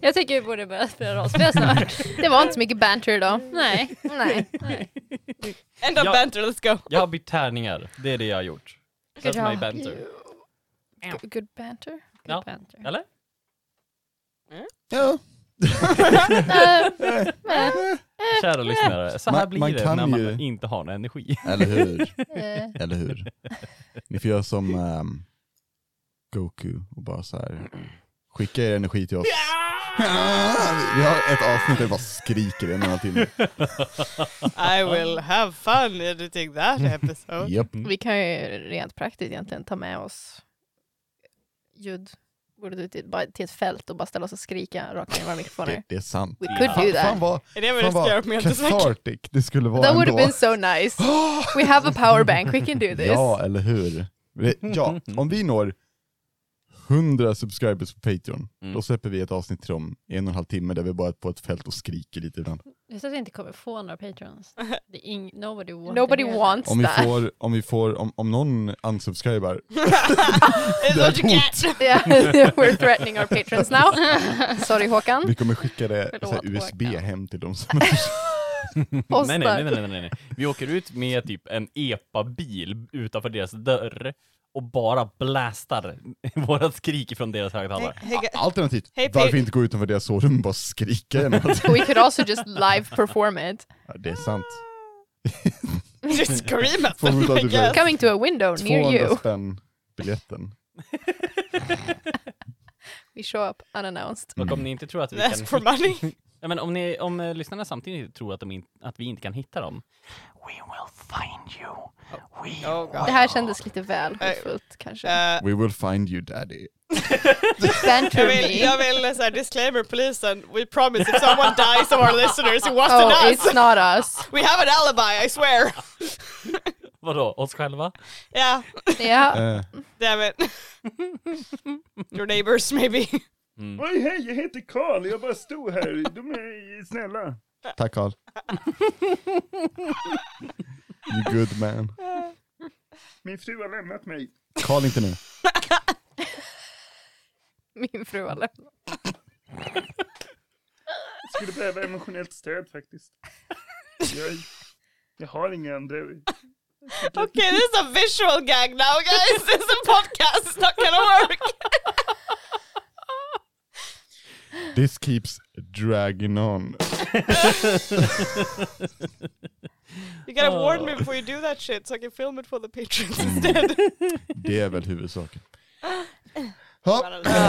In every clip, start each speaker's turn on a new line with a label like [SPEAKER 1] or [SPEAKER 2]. [SPEAKER 1] Jag tycker vi borde börja spela rollspel snart.
[SPEAKER 2] Det var inte så mycket banter idag.
[SPEAKER 1] Nej.
[SPEAKER 2] Nej.
[SPEAKER 3] End of
[SPEAKER 4] Ja.
[SPEAKER 3] banter, let's go.
[SPEAKER 4] Jag har bytt tärningar, det är det jag har gjort. That's
[SPEAKER 2] job.
[SPEAKER 4] my banter.
[SPEAKER 2] G- Good banter.
[SPEAKER 4] Ja.
[SPEAKER 1] Banter.
[SPEAKER 4] Eller?
[SPEAKER 5] Ja,
[SPEAKER 2] Eh, eh,
[SPEAKER 4] Kära lyssnare, så här
[SPEAKER 5] Man-
[SPEAKER 4] blir
[SPEAKER 5] man
[SPEAKER 4] det
[SPEAKER 5] kan
[SPEAKER 4] när man
[SPEAKER 5] ju-
[SPEAKER 4] inte har någon energi.
[SPEAKER 5] eller hur?
[SPEAKER 2] eh.
[SPEAKER 5] Eller hur? Ni får göra som ehm, Goku och bara så här. skicka er energi till oss. Vi har ett avsnitt där vi bara skriker en och annan timme.
[SPEAKER 3] I will have fun editing that episode.
[SPEAKER 5] Japp.
[SPEAKER 2] Vi kan ju rent praktiskt egentligen ta med oss ljudbordet till, bara till ett fält och bara ställa oss och skrika rakt in i våra mikrofoner.
[SPEAKER 5] Det, det är sant.
[SPEAKER 2] We
[SPEAKER 4] Ja.
[SPEAKER 2] could do
[SPEAKER 5] Fan
[SPEAKER 2] that.
[SPEAKER 5] vad,
[SPEAKER 3] Är det vad du
[SPEAKER 5] fan
[SPEAKER 3] ska göra
[SPEAKER 5] vad
[SPEAKER 3] på Mjöltesäck?
[SPEAKER 5] cathartic det skulle vara
[SPEAKER 2] That would have
[SPEAKER 5] ändå.
[SPEAKER 2] been so nice. We have a power bank, we can do this.
[SPEAKER 5] Ja, eller hur? Det- Ja, om vi når 100 subscribers på Patreon,
[SPEAKER 4] Mm.
[SPEAKER 5] då släpper vi ett avsnitt till om en och en halv timme där vi bara är på ett fält och skriker lite ibland.
[SPEAKER 1] Just att vi inte kommer få några patrons. Det är ing- nobody wants
[SPEAKER 2] Nobody
[SPEAKER 1] to hear
[SPEAKER 2] wants
[SPEAKER 5] Om vi
[SPEAKER 2] that.
[SPEAKER 5] får, om, vi får, om, om någon unsubscribar,
[SPEAKER 3] It's
[SPEAKER 5] Det är
[SPEAKER 3] what you get.
[SPEAKER 2] Yeah, we're threatening our patrons now. Sorry Håkan.
[SPEAKER 5] vi kommer skicka det så här,
[SPEAKER 1] Mm. Förlåt,
[SPEAKER 5] USB
[SPEAKER 1] Håkan.
[SPEAKER 5] hem till dem som...
[SPEAKER 4] nej, nej, nej, nej, nej, nej, nej. Vi åker ut med typ en epa-bil utanför deras dörr och bara blastar våra skrik från deras högtalare.
[SPEAKER 3] Hey, gu-
[SPEAKER 5] Alternativt,
[SPEAKER 3] Hej, Pete.
[SPEAKER 5] varför inte gå utanför deras sovrum och bara skrika en och annan timme?
[SPEAKER 2] We could also just live perform it.
[SPEAKER 5] ja, Det är sant.
[SPEAKER 3] Just scream at
[SPEAKER 5] Får
[SPEAKER 3] them,
[SPEAKER 5] vi ta
[SPEAKER 3] I
[SPEAKER 5] till
[SPEAKER 3] guess.
[SPEAKER 2] Coming to a window near
[SPEAKER 5] 200
[SPEAKER 2] you.
[SPEAKER 5] spänn biljetten.
[SPEAKER 2] We show up unannounced.
[SPEAKER 4] Och om ni inte tror att vi kan...
[SPEAKER 3] That's for money.
[SPEAKER 4] Ja, men om, ni, om eh, lyssnarna samtidigt tror att, de in, att vi inte kan hitta dem. We will find you. We
[SPEAKER 3] Oh god.
[SPEAKER 2] Det här kändes lite väl hotfullt kanske.
[SPEAKER 3] Eh,
[SPEAKER 5] We will find you daddy.
[SPEAKER 3] jag
[SPEAKER 2] Banter
[SPEAKER 3] vill,
[SPEAKER 2] me.
[SPEAKER 3] jag vill så här, disclaimer polisen, we promise if someone dies of our listeners it wasn't
[SPEAKER 2] Oh,
[SPEAKER 3] us.
[SPEAKER 2] it's not us.
[SPEAKER 3] We have an alibi, I swear.
[SPEAKER 4] Vadå, oss själva?
[SPEAKER 3] Yeah,
[SPEAKER 1] Ah.
[SPEAKER 2] Yeah.
[SPEAKER 5] Eh,
[SPEAKER 3] damn it. Your neighbors maybe.
[SPEAKER 6] Oj hej, jag heter Karl, jag bara stod här, de är snälla.
[SPEAKER 5] tack Carl. You good man.
[SPEAKER 6] Min fru har lämnat mig.
[SPEAKER 5] Carl inte nu.
[SPEAKER 2] Min fru har lämnat.
[SPEAKER 6] Skulle behöva emotionellt stöd faktiskt. Jag, jag har inga andra.
[SPEAKER 3] Okay, this is a visual gag now guys, this is a podcast, it's not gonna work.
[SPEAKER 5] This keeps dragging on.
[SPEAKER 3] You gotta warn me before you do that shit so I can film it for the patrons instead.
[SPEAKER 5] Det är väl huvudsaken. Ja,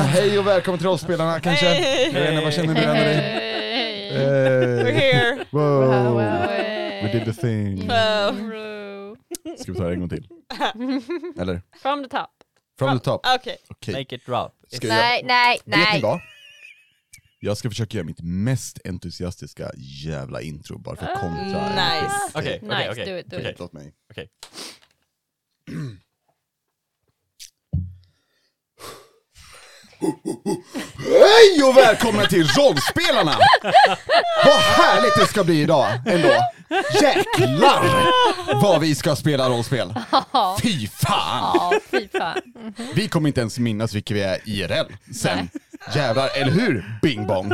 [SPEAKER 5] hej och välkommen till rollspelarna kanske.
[SPEAKER 3] Hey.
[SPEAKER 5] Jag vet inte, vad känner du Anneli?
[SPEAKER 1] Hey.
[SPEAKER 3] We're
[SPEAKER 5] Eh,
[SPEAKER 3] here.
[SPEAKER 2] Wow,
[SPEAKER 5] Wow.
[SPEAKER 2] wow. Mm.
[SPEAKER 5] We did the thing.
[SPEAKER 3] Oh.
[SPEAKER 1] Wow.
[SPEAKER 5] Ska vi ta det en gång till? Eller?
[SPEAKER 1] From the top.
[SPEAKER 5] From the top.
[SPEAKER 3] Okay.
[SPEAKER 5] Okej.
[SPEAKER 4] Make it drop.
[SPEAKER 5] Ska jag-
[SPEAKER 2] Nej, nej,
[SPEAKER 5] Vet ni
[SPEAKER 2] Ah. nej.
[SPEAKER 5] vad? Jag ska försöka göra mitt mest entusiastiska jävla intro bara för att kontra.
[SPEAKER 2] Mm,
[SPEAKER 3] Nice.
[SPEAKER 4] Okej, okej,
[SPEAKER 1] Nice,
[SPEAKER 4] okej,
[SPEAKER 1] do it, do
[SPEAKER 4] okej.
[SPEAKER 1] it.
[SPEAKER 5] Förlåt mig.
[SPEAKER 4] Okej.
[SPEAKER 5] Hej och välkomna till Rollspelarna! Vad härligt det ska bli idag ändå. Jäklar vad vi ska spela rollspel. Fy fan!
[SPEAKER 1] Ja, fy fan.
[SPEAKER 5] Vi kommer inte ens minnas vilka vi är IRL sen. Jävlar, eller hur? Bing bong.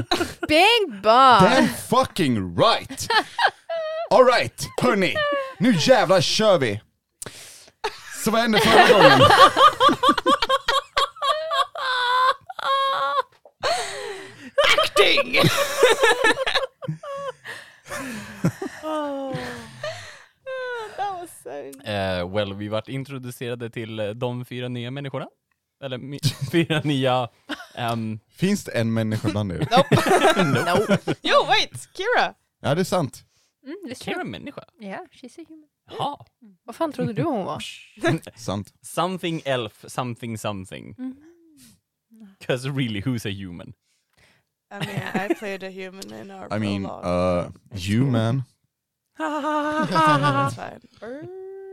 [SPEAKER 2] Bing bong!
[SPEAKER 5] Damn fucking right! Alright, hörni. Nu jävlar kör vi! Så vad hände förra gången?
[SPEAKER 3] Acting! Oh. Ah, That was so
[SPEAKER 4] Eh, well, vi vart introducerade till eh, de fyra nya människorna. Eller mi- fyra nya... ehm,
[SPEAKER 5] Finns det en människa bland er?
[SPEAKER 3] Yo, wait, Kira.
[SPEAKER 5] Ja, det är sant.
[SPEAKER 1] Mm, det är
[SPEAKER 4] Kira
[SPEAKER 1] true.
[SPEAKER 4] människa?
[SPEAKER 1] Yeah, she's a human.
[SPEAKER 4] Jaha.
[SPEAKER 2] Vad fan trodde du hon var?
[SPEAKER 5] Sant.
[SPEAKER 4] Something elf, something something. Cause really, who's a human?
[SPEAKER 3] I mean, I played a human in our
[SPEAKER 5] I mean, uh, you man. uh,
[SPEAKER 3] That's fine.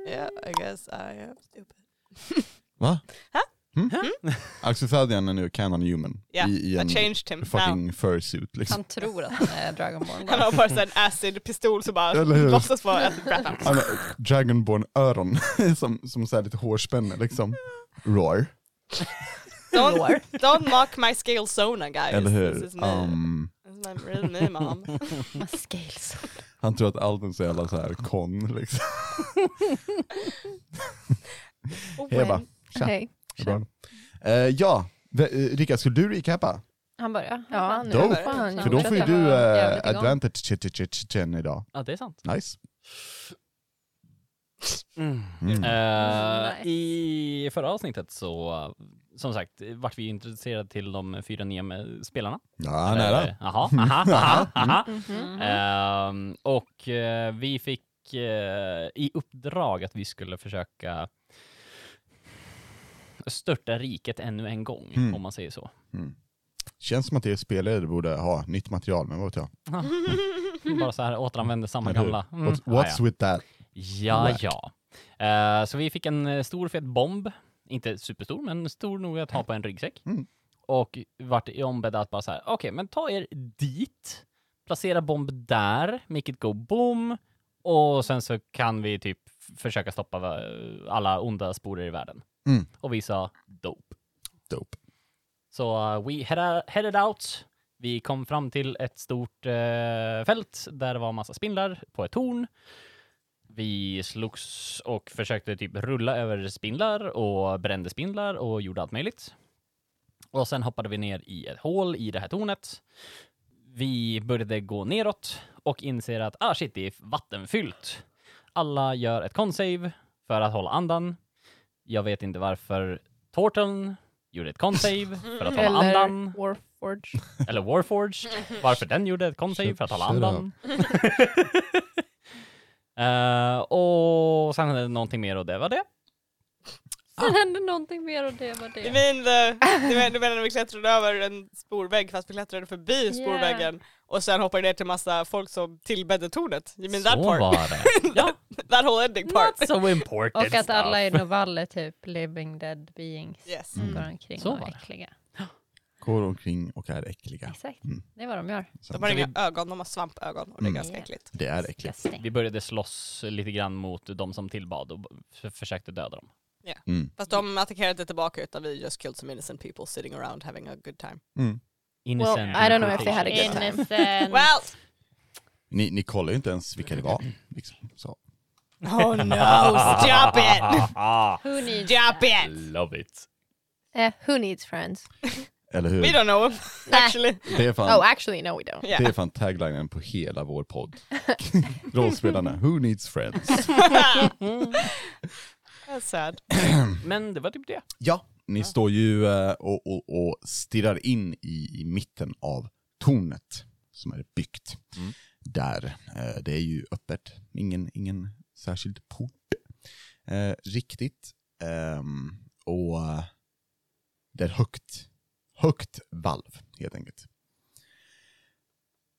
[SPEAKER 3] Yeah, I guess I am stupid.
[SPEAKER 5] Va?
[SPEAKER 3] Huh?
[SPEAKER 5] Mm? Axel Fadian är nu canon human.
[SPEAKER 3] Yeah,
[SPEAKER 5] I, i
[SPEAKER 3] I
[SPEAKER 5] en
[SPEAKER 3] changed him now.
[SPEAKER 5] fucking fursuit liksom.
[SPEAKER 1] Han tror att han är Dragonborn.
[SPEAKER 3] Han har bara en acid-pistol som bara
[SPEAKER 5] Eller hur?
[SPEAKER 3] låtsas vara acid Bratman.
[SPEAKER 5] Han har Dragonborn öron som, som så här lite hårspänne liksom. Roar.
[SPEAKER 3] Don't, don't mock my scale Sona guys.
[SPEAKER 5] Eller hur?
[SPEAKER 3] This is me.
[SPEAKER 5] Um,
[SPEAKER 3] This is my real me mom.
[SPEAKER 5] Mm.
[SPEAKER 1] Scales.
[SPEAKER 5] han tror att allt är så jävla så här kon liksom. Hej Ebba. Tja.
[SPEAKER 2] Hej.
[SPEAKER 5] Hur mår du? Eh, ja, V- eh, Rickard, skulle du recappa?
[SPEAKER 1] Han börjar.
[SPEAKER 2] Ja,
[SPEAKER 1] Jaha,
[SPEAKER 2] nu
[SPEAKER 5] Dope.
[SPEAKER 2] börjar det.
[SPEAKER 1] Fan,
[SPEAKER 5] För då får ju
[SPEAKER 1] fortsätter
[SPEAKER 5] du
[SPEAKER 1] vara
[SPEAKER 5] eh,
[SPEAKER 1] jävligt igång.
[SPEAKER 5] advantage ch- ch- ch- ch- chen idag.
[SPEAKER 4] Ja, det är sant.
[SPEAKER 5] Nice.
[SPEAKER 4] Eh,
[SPEAKER 5] Mm.
[SPEAKER 1] Nice.
[SPEAKER 4] I förra avsnittet så, eh, som sagt, vart vi introducerade till de fyra nya med- spelarna.
[SPEAKER 5] Ja, nära. Mm.
[SPEAKER 4] Eh, Jaha, aha, aha, aha.
[SPEAKER 1] Mhm.
[SPEAKER 4] Ehm, och eh, vi fick eh, i uppdrag att vi skulle försöka störta riket ännu en gång,
[SPEAKER 5] Mm.
[SPEAKER 4] om man säger så.
[SPEAKER 5] Känns som att det är spelare du borde ha nytt material, men vad vet jag.
[SPEAKER 4] Bara så här återanvänder samma
[SPEAKER 5] Eller hur?
[SPEAKER 4] gamla. Mm.
[SPEAKER 5] What's,
[SPEAKER 4] Ah, ja.
[SPEAKER 5] what's with that?
[SPEAKER 4] Ja,
[SPEAKER 5] Whack.
[SPEAKER 4] ja. Eh, så vi fick en eh, stor fet bomb. Inte superstor, men stor nog att ha på en ryggsäck.
[SPEAKER 5] Mm.
[SPEAKER 4] Och vart i ombedda att bara så här, okej, men ta er dit, placera bomb där, make it go boom, och sen så kan vi typ f- försöka stoppa va- alla onda sporer i världen.
[SPEAKER 5] Mm.
[SPEAKER 4] Och vi sa dope.
[SPEAKER 5] Dope.
[SPEAKER 4] Så eh, we heada- headed out. Vi kom fram till ett stort eh, fält där det var massa spindlar på ett torn. Vi slogs och försökte typ rulla över spindlar och brände spindlar och gjorde allt möjligt. Och sen hoppade vi ner i ett hål i det här tornet. Vi började gå neråt och inser att ah shit, det är vattenfyllt. Alla gör ett consave för att hålla andan. Jag vet inte varför Torteln gjorde ett consave för att hålla andan.
[SPEAKER 2] Eller Warforge.
[SPEAKER 4] Eller Warforged. Varför den gjorde ett consave för att hålla
[SPEAKER 5] Shut up.
[SPEAKER 4] andan. Eh, och sen hände det någonting mer och det var det.
[SPEAKER 1] Sen hände någonting mer och det var
[SPEAKER 3] Du
[SPEAKER 1] det.
[SPEAKER 3] menar, du menar, du menar när vi klättrade över en spårvägg fast vi klättrade förbi spårväggen och sen hoppade ner till massa folk som tillbedde tornet? You mean
[SPEAKER 4] Så
[SPEAKER 3] that part?
[SPEAKER 4] var det. Ja,
[SPEAKER 3] That whole ending part?
[SPEAKER 4] not so important
[SPEAKER 1] Och att alla
[SPEAKER 4] stuff.
[SPEAKER 1] i Novall är typ living dead beings.
[SPEAKER 3] Yes.
[SPEAKER 5] Mm.
[SPEAKER 1] Som går omkring
[SPEAKER 4] Så
[SPEAKER 1] och
[SPEAKER 4] var
[SPEAKER 1] är
[SPEAKER 4] det.
[SPEAKER 1] äckliga.
[SPEAKER 5] Går omkring och är äckliga.
[SPEAKER 1] Exakt,
[SPEAKER 5] Mm.
[SPEAKER 1] det är vad de gör.
[SPEAKER 3] De har inga ögon, de har svampögon och det är
[SPEAKER 5] Mm.
[SPEAKER 3] ganska
[SPEAKER 1] Yeah.
[SPEAKER 3] äckligt.
[SPEAKER 5] Det är äckligt.
[SPEAKER 1] Disgusting.
[SPEAKER 4] Vi började slåss lite grann mot de som tillbad och b- f- försökte döda dem.
[SPEAKER 5] Mm.
[SPEAKER 3] Fast de attackerade inte tillbaka utan vi just killed some innocent people sitting around having a good time.
[SPEAKER 5] Mm.
[SPEAKER 4] Innocent
[SPEAKER 2] I don't know if they had a good
[SPEAKER 4] implications.
[SPEAKER 2] time.
[SPEAKER 1] Innocent.
[SPEAKER 3] Well!
[SPEAKER 5] Ni, ni kollar ju inte ens vilka det var.
[SPEAKER 3] Mm.
[SPEAKER 5] Liksom. Så.
[SPEAKER 3] Oh no, stop it!
[SPEAKER 4] Ah,
[SPEAKER 1] Who needs
[SPEAKER 3] Stop it!
[SPEAKER 4] love it.
[SPEAKER 2] Eh, who needs friends?
[SPEAKER 5] Eller
[SPEAKER 3] We
[SPEAKER 5] hur?
[SPEAKER 3] don't know him, actually.
[SPEAKER 5] Det är fan,
[SPEAKER 2] Oh actually no we don't.
[SPEAKER 5] det
[SPEAKER 3] Yeah.
[SPEAKER 5] är fan taglinen på hela vår podd. Rollspelarna, who needs friends?
[SPEAKER 3] That's sad.
[SPEAKER 4] Men det var typ det.
[SPEAKER 5] Ja. Ni står ju eh, och, och, och stirrar in i, i mitten av tornet som är byggt.
[SPEAKER 4] Mm.
[SPEAKER 5] Där. eh, Det är ju öppet, ingen, ingen särskild port eh, riktigt. Ehm, och eh, det är högt, högt valv helt enkelt.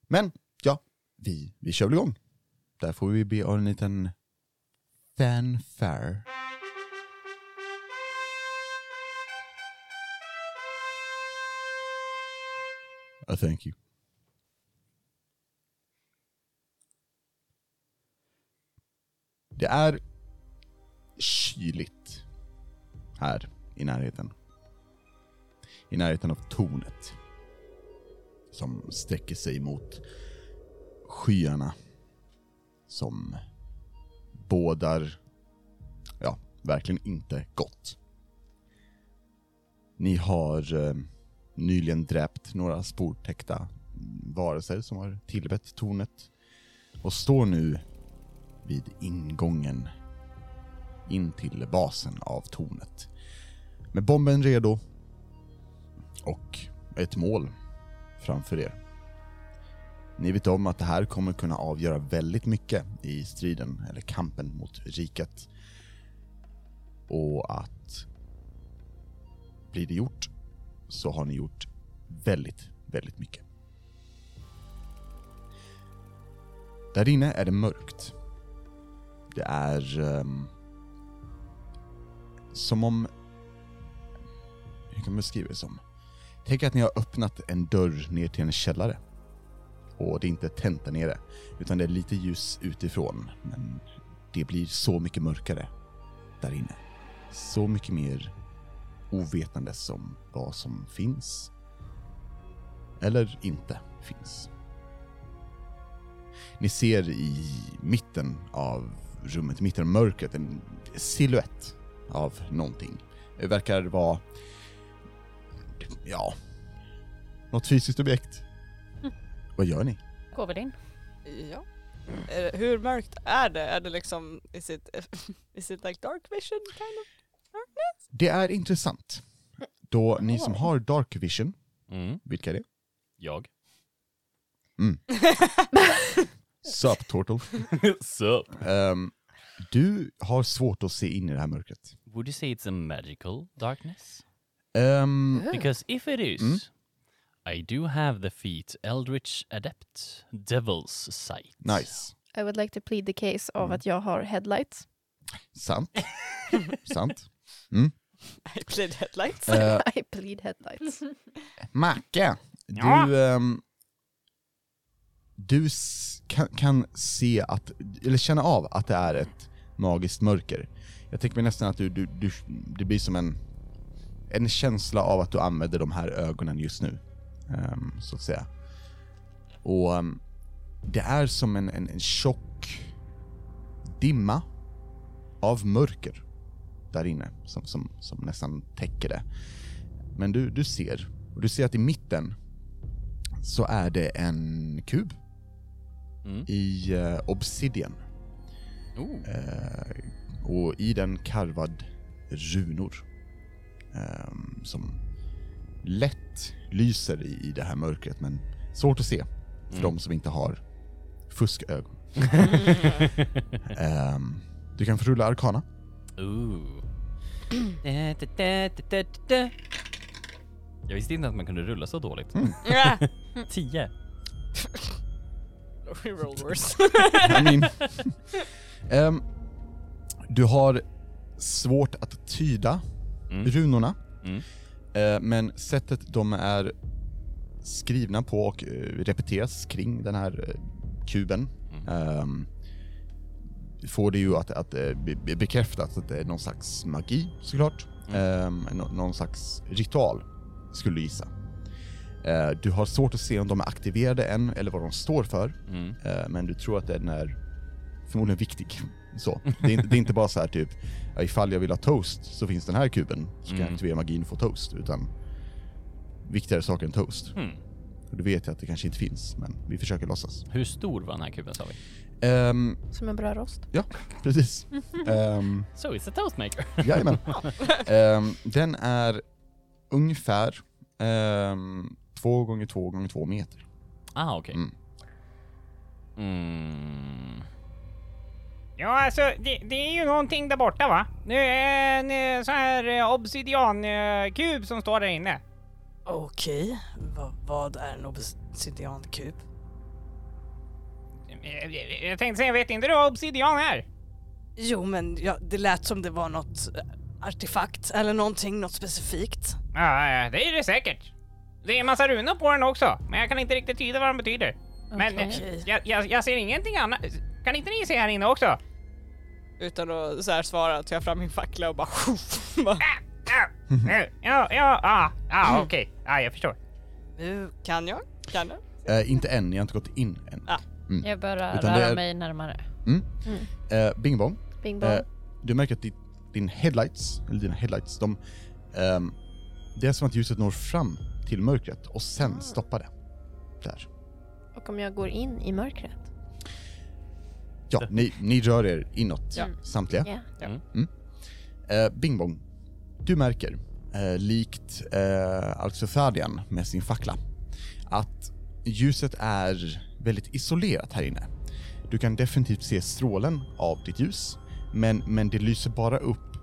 [SPEAKER 5] Men ja, vi, vi kör väl igång. Där får vi be om en liten fanfare. Uh, thank you. Det är kyligt här i närheten. I närheten av tornet. Som sträcker sig mot skyarna. Som bådar, ja, verkligen inte gott. Ni har eh, nyligen dräpt några sportäckta varelser som har tillbett tornet och står nu vid ingången in till basen av tornet. Med bomben redo och ett mål framför er. Ni vet om att det här kommer kunna avgöra väldigt mycket i striden eller kampen mot riket. Och att blir det gjort så har ni gjort väldigt, väldigt mycket. Där inne är det mörkt. Det är ehm, som om... Hur kan man beskriva det som? Tänk att ni har öppnat en dörr ner till en källare. Och det är inte tänt där nere, utan det är lite ljus utifrån. Men det blir så mycket mörkare där inne. Så mycket mer ovetandes om vad som finns. Eller inte finns. Ni ser i mitten av rummet, i mitten av mörkret, en silhuett av någonting. Det verkar vara, ja, något fysiskt objekt. Vad gör ni?
[SPEAKER 2] Går väl in.
[SPEAKER 3] Ja. Är det- Hur mörkt är det? Är det liksom, is it, is it like dark vision kind of?
[SPEAKER 5] Det är intressant. Då ni som har dark vision,
[SPEAKER 4] Mm.
[SPEAKER 5] vilka är det?
[SPEAKER 4] Jag.
[SPEAKER 5] Sup Turtle.
[SPEAKER 4] Sup.
[SPEAKER 5] Ehm, du har svårt att se in i det här mörkret.
[SPEAKER 4] Would you say it's a magical darkness?
[SPEAKER 5] Ehm,
[SPEAKER 4] Because if it is,
[SPEAKER 5] Mm.
[SPEAKER 4] I do have the feat Eldritch Adept, Devil's Sight.
[SPEAKER 5] nice. Mm.
[SPEAKER 2] I would like to plead the case av att jag har headlights.
[SPEAKER 5] Sant. Sant.
[SPEAKER 3] I played headlights.
[SPEAKER 5] Uh,
[SPEAKER 2] I plead headlights.
[SPEAKER 5] Macke, du... ehm, du s- kan, kan se att, eller känna av att det är ett magiskt mörker. Jag tänker mig nästan att du, du, du det blir som en, en känsla av att du använder de här ögonen just nu. ehm, så att säga. Och ehm, det är som en, en, en tjock dimma av mörker där inne som, som, som nästan täcker det. Men du, du ser, och du ser att i mitten så är det en kub
[SPEAKER 4] Mm.
[SPEAKER 5] i eh, obsidian.
[SPEAKER 4] Ooh.
[SPEAKER 5] Eh, och i den karvad runor. ehm, som lätt lyser i, i det här mörkret men svårt att se för de som inte har fuskögon. Ehm, du kan få rulla arkana.
[SPEAKER 4] Ooh. Da, da, da, da, da, da. Jag visste inte att man kunde rulla så dåligt.
[SPEAKER 5] Mm.
[SPEAKER 3] Yeah.
[SPEAKER 4] Tio.
[SPEAKER 3] We rolled worse.
[SPEAKER 5] I mean, Ehm, du har svårt att tyda
[SPEAKER 4] Mm.
[SPEAKER 5] runorna.
[SPEAKER 4] Mm.
[SPEAKER 5] Eh, men sättet de är skrivna på och eh, repeteras kring den här eh, kuben
[SPEAKER 4] Mm.
[SPEAKER 5] ehm, får det ju att, att eh, be- be- bekräftat att det är någon slags magi såklart.
[SPEAKER 4] Mm.
[SPEAKER 5] Ehm, nå- någon slags ritual skulle du gissa. Eh, du har svårt att se om de är aktiverade än eller vad de står för.
[SPEAKER 4] Mm.
[SPEAKER 5] Eh, men du tror att den är förmodligen viktig. Så. Det, är, inte- det är inte bara så här typ, ja, ifall jag vill ha toast så finns den här kuben, så kan jag
[SPEAKER 4] Mm.
[SPEAKER 5] aktivera magin och få toast, utan viktigare saker än toast.
[SPEAKER 4] Hmm.
[SPEAKER 5] Och du vet jag att det kanske inte finns, men vi försöker låtsas.
[SPEAKER 4] Hur stor var den här kuben sa vi?
[SPEAKER 5] Ehm,
[SPEAKER 2] Som en bra rost.
[SPEAKER 5] ja, precis. um,
[SPEAKER 4] So it's a toastmaker.
[SPEAKER 5] jajamän. Ehm, den är ungefär ehm, två gånger två gånger två meter.
[SPEAKER 4] ah, okej.
[SPEAKER 5] Mm.
[SPEAKER 4] Mm.
[SPEAKER 7] Ja, alltså det, det är ju någonting där borta va? Nu är en eh, sån här eh, obsidiankub som står där inne.
[SPEAKER 3] Okej, Va- vad är en obsidiankub?
[SPEAKER 7] Eh, eh, Jag tänkte säga, vet inte du vad obsidian är?
[SPEAKER 3] Jo men ja, det lät som det var något eh, artefakt eller någonting, något specifikt.
[SPEAKER 7] Ja, ja, det är det säkert. Det är en massa runor på den också, men jag kan inte riktigt tyda vad de betyder. Men eh,
[SPEAKER 1] Okej.
[SPEAKER 7] jag, jag, jag ser ingenting annat. Kan inte ni se här inne också?
[SPEAKER 3] Utan att så här svara tar jag fram min fackla och bara... bara
[SPEAKER 7] Ja, ja, ja, ja, ah, ah, okej. Ja, jag förstår.
[SPEAKER 3] nu kan jag, kan jag.
[SPEAKER 5] Eh, inte än, jag har inte gått in än.
[SPEAKER 3] Ah.
[SPEAKER 1] Jag börjar
[SPEAKER 5] Utan det
[SPEAKER 1] röra
[SPEAKER 5] är-
[SPEAKER 1] mig närmare.
[SPEAKER 5] Eh, Bing bong.
[SPEAKER 2] Bing bong.
[SPEAKER 5] Eh, du märker att din, din headlights, eller dina headlights, de, ehm, det är som att ljuset når fram till mörkret och sen stoppar det. Där.
[SPEAKER 2] Ah. Och om jag går in i mörkret?
[SPEAKER 5] Ja, ni, ni rör er inåt, samtliga. Mm.
[SPEAKER 2] Ja.
[SPEAKER 5] Eh, bing bong. Du märker, eh, likt eh, Alxothadian med sin fackla, att ljuset är väldigt isolerat här inne. Du kan definitivt se strålen av ditt ljus, men, men det lyser bara upp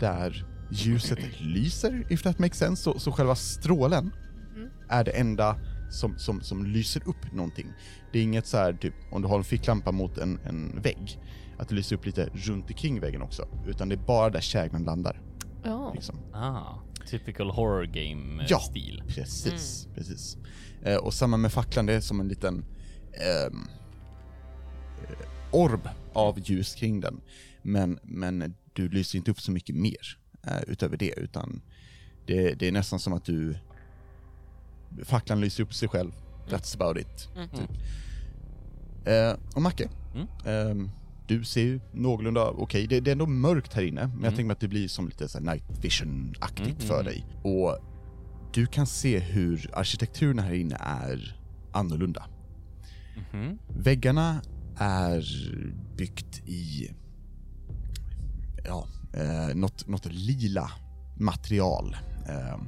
[SPEAKER 5] där ljuset lyser, if that makes sense. Så, så själva strålen är det enda som, som, som lyser upp någonting. Det är inget så här, typ, om du har en ficklampa mot en, en vägg, att det lyser upp lite runt omkring väggen också. Utan det är bara där käglan landar.
[SPEAKER 1] Oh.
[SPEAKER 5] Liksom.
[SPEAKER 4] Ah, typical horror game eh,
[SPEAKER 5] Ja.
[SPEAKER 4] stil.
[SPEAKER 5] Precis, precis. Eh, och samma med facklan, det är som en liten ehm, eh, orb av ljus kring den. Men, men du lyser inte upp så mycket mer. eh, utöver det, utan det, det är nästan som att du... Facklan lyser upp sig själv. That's about it. Typ. Eh, och Macke, ehm, du ser ju någorlunda okej. Det, det är ändå mörkt här inne, men jag tänker mig att det blir som lite så här night vision-aktigt för dig. Och du kan se hur arkitekturen här inne är annorlunda. Väggarna är byggt i ja, eh, något, något lila material. Eh,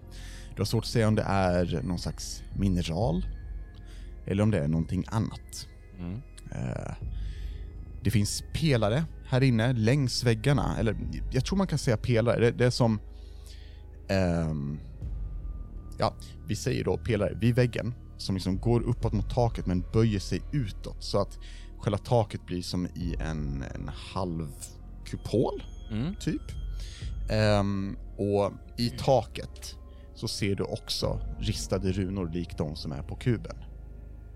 [SPEAKER 5] du har svårt att säga om det är någon slags mineral eller om det är någonting annat. Eh, det finns pelare här inne längs väggarna, eller jag tror man kan säga pelare. Det, det är som... ehm, ja, vi säger då pelare vid väggen som liksom går uppåt mot taket men böjer sig utåt så att själva taket blir som i en, en halv kupol, typ. Ehm, och i taket så ser du också ristade runor likt de som är på kuben.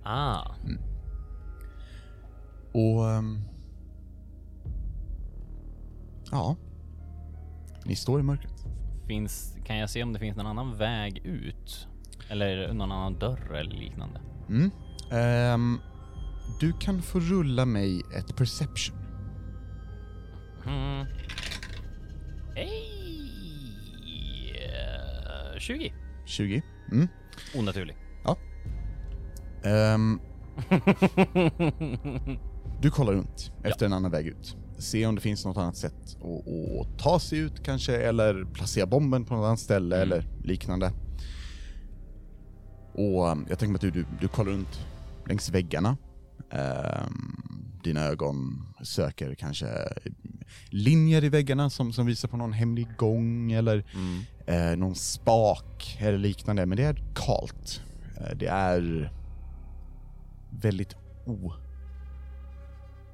[SPEAKER 4] Ah.
[SPEAKER 5] Och... ehm, ja. Ni står i mörkret.
[SPEAKER 4] Finns, kan jag se om det finns någon annan väg ut? Eller någon annan dörr eller liknande?
[SPEAKER 5] Mm. Ehm, du kan få rulla mig ett perception.
[SPEAKER 4] Mm. Hej! Eh, 20.
[SPEAKER 5] 20. Mm.
[SPEAKER 4] Onaturlig.
[SPEAKER 5] Ehm, du kollar runt efter en annan väg ut. Se om det finns något annat sätt att, att ta sig ut kanske, eller placera bomben på något annat ställe eller liknande. Och um, jag tänker mig att du, du, du kollar runt längs väggarna. Ehm, dina ögon söker kanske linjer i väggarna som, som visar på någon hemlig gång eller eh, någon spak eller liknande. Men det är kalt. Eh, det är väldigt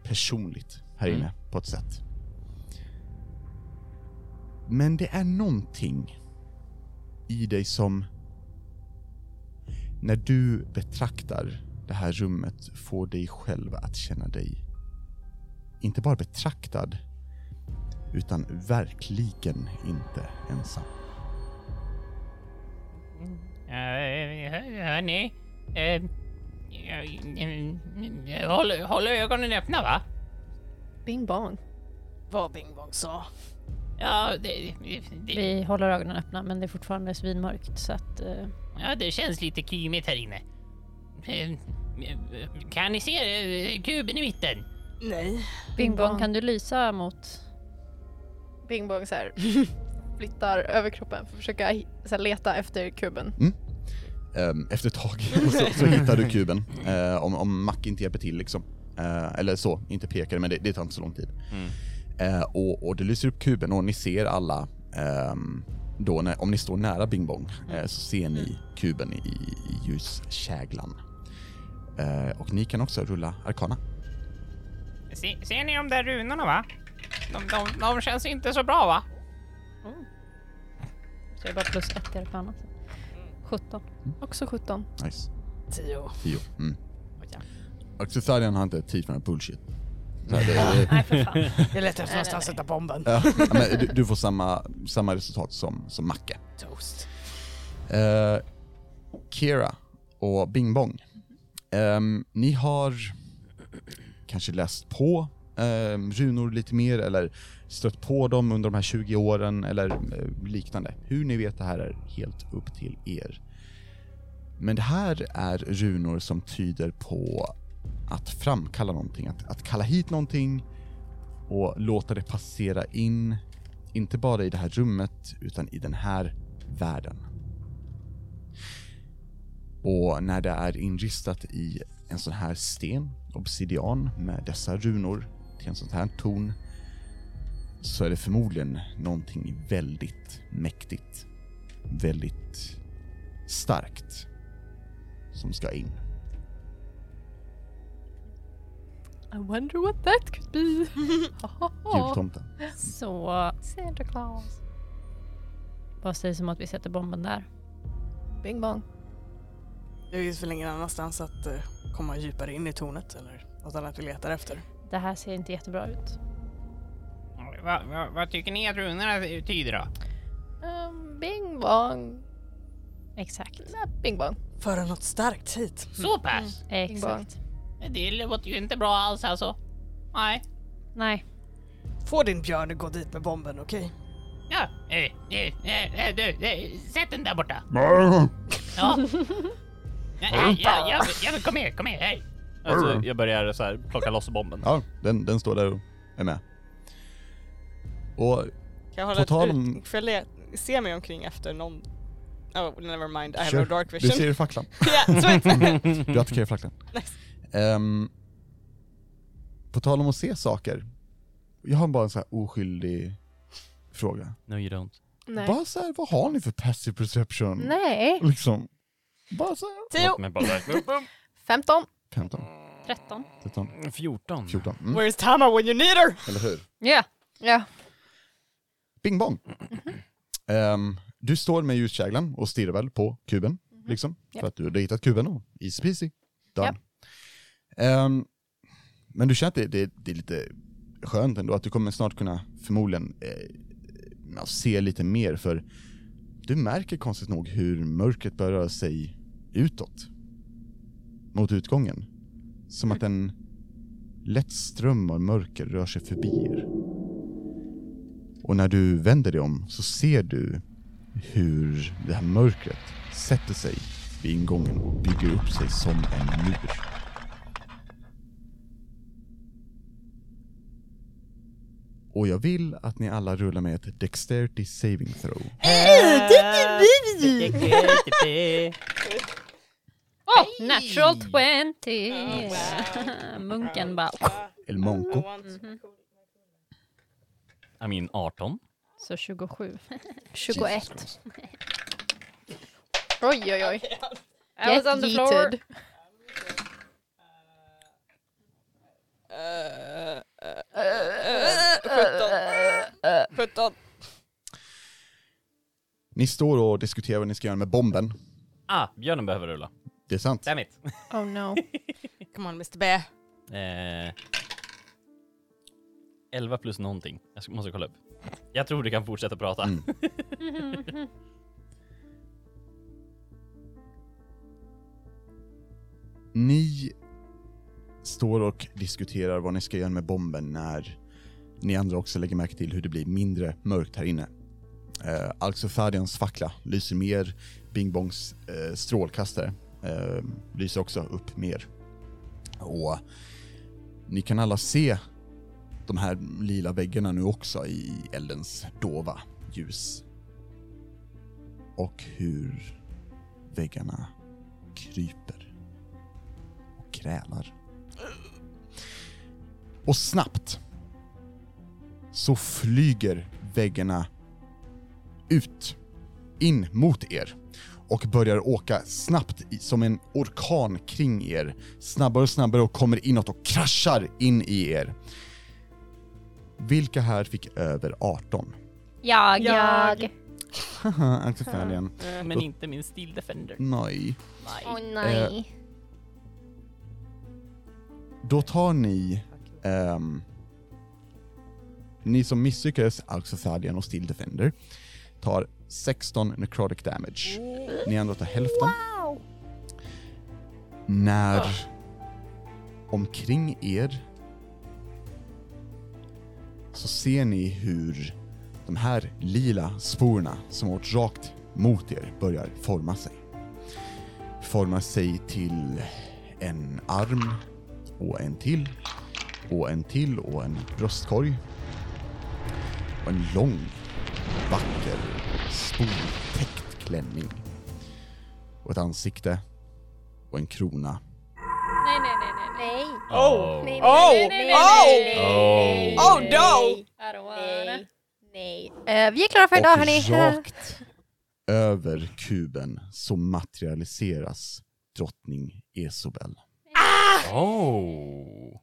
[SPEAKER 5] opersonligt här inne på ett sätt. Men det är någonting i dig som när du betraktar det här rummet får dig själv att känna dig inte bara betraktad utan verkligen inte ensam.
[SPEAKER 7] Eh, hör- Hörni. Eh, jag- eh, Håll, håll ögonen öppna va?
[SPEAKER 2] Bing bong.
[SPEAKER 3] Vad Bing Bong sa.
[SPEAKER 7] Ja, det, det,
[SPEAKER 1] Vi håller ögonen öppna men det är fortfarande svinmörkt så att... eh,
[SPEAKER 7] ja, det känns lite kymigt här inne. Eh, Kan ni se eh, kuben i mitten?
[SPEAKER 3] Nej.
[SPEAKER 1] Bing
[SPEAKER 2] bong.
[SPEAKER 1] bong, kan du lysa mot...
[SPEAKER 2] Bing bong så här. Flyttar överkroppen för att försöka hi- så här, leta efter kuben.
[SPEAKER 5] Ehm, efter ett tag så, så hittar du kuben. Eh, om, om Mac inte hjälper till liksom. Eh, eller så, inte pekar men det, det tar inte så lång tid. Eh, och, och du lyser upp kuben och ni ser alla, ehm, då när, om ni står nära Bing Bong, eh, så ser ni kuben i, i ljuskäglan. Eh, och ni kan också rulla Arkana.
[SPEAKER 7] Se, ser ni de där runorna va? De, de, de känns inte så bra va?
[SPEAKER 1] Så jag bara plus ett i alla fall. 17.
[SPEAKER 2] Också 17.
[SPEAKER 5] Nice.
[SPEAKER 3] Tio.
[SPEAKER 5] Tio. Mm.
[SPEAKER 3] Oj, ja.
[SPEAKER 5] Och Cesarion har inte tid för den här bullshit. Så här, det,
[SPEAKER 1] Nej för fan.
[SPEAKER 3] Jag letar efter någonstans att sätta bomben.
[SPEAKER 5] ja, men du, du får samma, samma resultat som, som Macke.
[SPEAKER 3] Toast.
[SPEAKER 5] Eh, Kira och Bing Bong. Ehm, ni har kanske läst på ehm, runor lite mer eller stött på dem under de här 20 åren eller eh, liknande. Hur ni vet det här är helt upp till er. Men det här är runor som tyder på att framkalla någonting, att, att kalla hit någonting och låta det passera in, inte bara i det här rummet utan i den här världen. Och när det är inristat i en sån här sten, obsidian, med dessa runor till en sån här torn så är det förmodligen någonting väldigt mäktigt. Väldigt starkt som ska in.
[SPEAKER 2] I wonder what that could be.
[SPEAKER 5] Jultomten.
[SPEAKER 1] Så
[SPEAKER 2] Santa Claus.
[SPEAKER 1] vad sägs om att vi sätter bomben där?
[SPEAKER 2] Bing bong.
[SPEAKER 3] Det finns väl ingen annanstans att eh, komma djupare in i tornet eller något annat vi letar efter.
[SPEAKER 1] Det här ser inte jättebra ut.
[SPEAKER 3] Mm.
[SPEAKER 7] Va, va, vad tycker ni att runorna tyder då?
[SPEAKER 2] Ehm, bing bong.
[SPEAKER 1] Exakt.
[SPEAKER 2] Nej, bing bong.
[SPEAKER 3] Föra något starkt hit.
[SPEAKER 7] Så pass?
[SPEAKER 1] Exakt.
[SPEAKER 3] Mm.
[SPEAKER 7] Det låter ju inte bra alls alltså. Nej.
[SPEAKER 1] Nej.
[SPEAKER 3] Få din björn att gå dit med bomben, okej?
[SPEAKER 7] Ja, eh, eh, eh, eh, du, eh, sätt den där borta. Ja. Ja, eh, ja, ja, ja, men kom här, kom här, hej.
[SPEAKER 4] Alltså, jag börjar så här, plocka loss bomben.
[SPEAKER 5] Ja, den, den står där och är med. Och
[SPEAKER 3] Kan jag hålla
[SPEAKER 5] På tal
[SPEAKER 3] ett
[SPEAKER 5] om-
[SPEAKER 3] ut- Får jag le- se mig omkring efter någon... Oh, never mind. I have
[SPEAKER 5] kör.
[SPEAKER 3] no dark
[SPEAKER 5] Du
[SPEAKER 3] vision.
[SPEAKER 5] ser facklan.
[SPEAKER 3] Ja, sweet.
[SPEAKER 5] Du attackerar facklan. Ehm, på tal om att se saker. Jag har bara en så här oskyldig fråga.
[SPEAKER 4] No you don't.
[SPEAKER 2] Nej.
[SPEAKER 5] Bara så här, vad har ni för passive perception?
[SPEAKER 2] Nej.
[SPEAKER 5] Liksom. Bara så här.
[SPEAKER 3] Tio,
[SPEAKER 4] Men bara där.
[SPEAKER 2] 15.
[SPEAKER 5] 15,
[SPEAKER 1] 13.
[SPEAKER 5] 13,
[SPEAKER 4] 14.
[SPEAKER 5] 14. Mm,
[SPEAKER 3] where's Tama when you need her?
[SPEAKER 5] eller hur?
[SPEAKER 1] Ja.
[SPEAKER 2] Ja.
[SPEAKER 5] Bing bong. Ehm, du står med ljuskäglan och stirrar väl på kuben, liksom.
[SPEAKER 2] Ja.
[SPEAKER 5] För att du har hittat kuben och easy peasy. Done.
[SPEAKER 2] Ja.
[SPEAKER 5] Ehm, men du känner att det, det, det är lite skönt ändå, att du kommer snart kunna förmodligen eh, ja, se lite mer, för du märker konstigt nog hur mörkret börjar röra sig utåt. Mot utgången. Som att en lätt ström av mörker rör sig förbi er. Och när du vänder dig om så ser du hur det här mörkret sätter sig vid ingången och bygger upp sig som en mur. Och jag vill att ni alla rullar med ett Dexterity Saving Throw.
[SPEAKER 1] Oh, natural 20! Oh, Munken bara...
[SPEAKER 5] El Monco.
[SPEAKER 3] Mm, Mm-hmm.
[SPEAKER 4] I mean 18.
[SPEAKER 1] Så 27.
[SPEAKER 2] 21. Oj, oj, oj.
[SPEAKER 1] I was on the floor.
[SPEAKER 2] yeeted.
[SPEAKER 3] Sjutton. Sjutton.
[SPEAKER 5] Ni står och diskuterar vad ni ska göra med bomben.
[SPEAKER 4] Ah, björnen behöver rulla.
[SPEAKER 5] Det är sant.
[SPEAKER 4] Damn it.
[SPEAKER 2] Oh no.
[SPEAKER 3] Come on Mr. B.
[SPEAKER 4] Eh, 11 plus någonting. Jag ska- måste kolla upp. Jag tror du kan fortsätta prata.
[SPEAKER 5] Mm. Ni står och diskuterar vad ni ska göra med bomben när ni andra också lägger märke till hur det blir mindre mörkt här inne. Eh, alltså Fadians fackla lyser mer, Bing Bongs eh, strålkastare eh, lyser också upp mer. Och ni kan alla se de här lila väggarna nu också i eldens dova ljus. Och hur väggarna kryper och krälar. Och snabbt så flyger väggarna ut, in mot er och börjar åka snabbt i, som en orkan kring er. Snabbare och snabbare och kommer inåt och kraschar in i er. Vilka här fick över 18?
[SPEAKER 1] Jag,
[SPEAKER 3] Jag.
[SPEAKER 1] jag.
[SPEAKER 5] Haha, Axelfälgen.
[SPEAKER 4] Men inte min Steel Defender.
[SPEAKER 5] Nej.
[SPEAKER 1] Åh
[SPEAKER 5] Eh,
[SPEAKER 1] nej.
[SPEAKER 5] Då tar ni... ehm, ni som misslyckades, alltså Fadian och Steel Defender, tar 16 necrotic damage. Ni andra tar hälften. När omkring er så ser ni hur de här lila sporerna som har åkt rakt mot er börjar forma sig. Formar sig till en arm och en till och en till och en bröstkorg. Och en lång, vacker, sportäckt klänning. Och ett ansikte och en krona.
[SPEAKER 1] Nej, nej, nej, nej.
[SPEAKER 8] Nej.
[SPEAKER 4] Oh.
[SPEAKER 8] Nej,
[SPEAKER 3] Oh!
[SPEAKER 8] nej, nej, nej, nej, nej, nej,
[SPEAKER 3] Oh! Oh, no!
[SPEAKER 8] nej,
[SPEAKER 1] I don't wanna.
[SPEAKER 8] Nej. Nej.
[SPEAKER 2] Eh, vi är klara för idag hörni.
[SPEAKER 5] och rakt över kuben så materialiseras drottning Esobel.
[SPEAKER 4] Oh.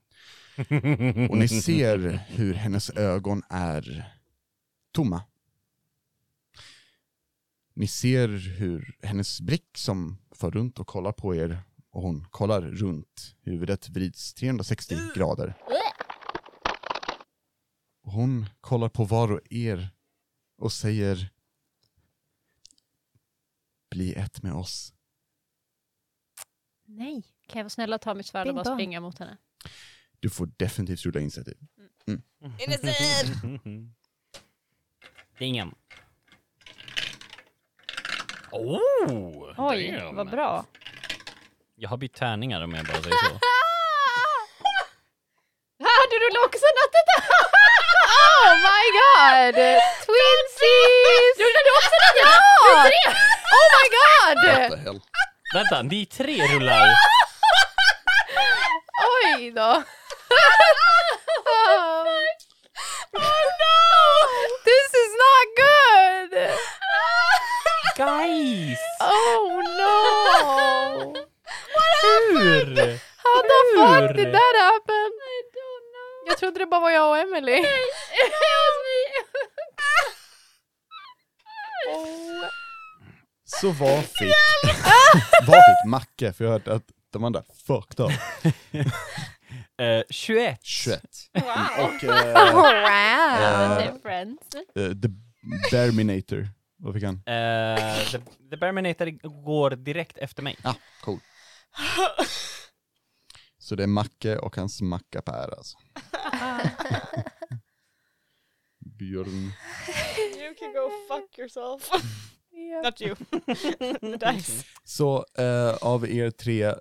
[SPEAKER 5] Och ni ser hur hennes ögon är tomma. Ni ser hur hennes blick som far runt och kollar på er och hon kollar runt. Huvudet vrids 360 grader. Och Hon kollar på var och er och säger Bli ett med oss.
[SPEAKER 1] Nej. Kan jag vara snäll och ta mitt svärd och
[SPEAKER 2] Bing
[SPEAKER 1] bara
[SPEAKER 2] bong.
[SPEAKER 1] springa mot henne?
[SPEAKER 5] Du får definitivt rulla initiativ.
[SPEAKER 3] Innocent!
[SPEAKER 4] Ingen. Oh,
[SPEAKER 1] Oj,
[SPEAKER 4] damn.
[SPEAKER 1] vad bra.
[SPEAKER 4] Jag har bytt tärningar om jag bara säger så.
[SPEAKER 2] Hörde du också nattet? oh my god! Twinsies! Rullade du också nattet? Ja! Oh my god!
[SPEAKER 5] What the hell?
[SPEAKER 4] Vänta, det är tre rullar.
[SPEAKER 2] Oj då. Oh no! This is not good!
[SPEAKER 4] Guys!
[SPEAKER 2] Oh no!
[SPEAKER 4] Hur?
[SPEAKER 2] How the fuck
[SPEAKER 4] Hur?
[SPEAKER 2] did that happen? I don't know. Jag trodde det bara var jag och Emily. oh.
[SPEAKER 5] Så vad fick... vad fick Macke? För jag hörde att de andra fucked up.
[SPEAKER 4] Eh, 21.
[SPEAKER 5] 21. Och eh,
[SPEAKER 2] Wow!
[SPEAKER 5] eh,
[SPEAKER 1] They're friends.
[SPEAKER 5] eh, The Terminator. Vad fick han?
[SPEAKER 4] Eh, the, the Berminator går direkt efter mig.
[SPEAKER 5] Ah, cool. Så det är Macke och hans mackapär alltså. Björn.
[SPEAKER 3] You can go fuck yourself. Not you. The dice.
[SPEAKER 5] Så eh, av er tre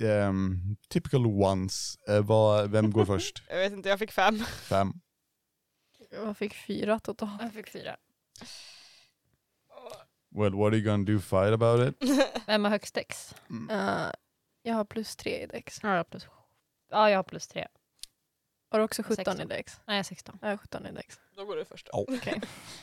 [SPEAKER 5] ehm, typical ones, eh, vad, vem går först?
[SPEAKER 3] Jag vet inte, jag fick fem.
[SPEAKER 5] Fem.
[SPEAKER 2] Jag fick fyra totalt.
[SPEAKER 1] Jag fick fyra.
[SPEAKER 5] Well, what are you gonna do fight about it?
[SPEAKER 1] Vem har högst Mm. dex?
[SPEAKER 2] Eh, jag har plus tre i dex.
[SPEAKER 1] Ja, jag har plus, ja, jag har plus tre.
[SPEAKER 2] Har du också 17 i
[SPEAKER 1] Sexton.
[SPEAKER 2] dex?
[SPEAKER 1] Nej, jag har 16.
[SPEAKER 2] Jag har 17 i dex.
[SPEAKER 3] Då går du först.
[SPEAKER 5] Oh.
[SPEAKER 2] Okej.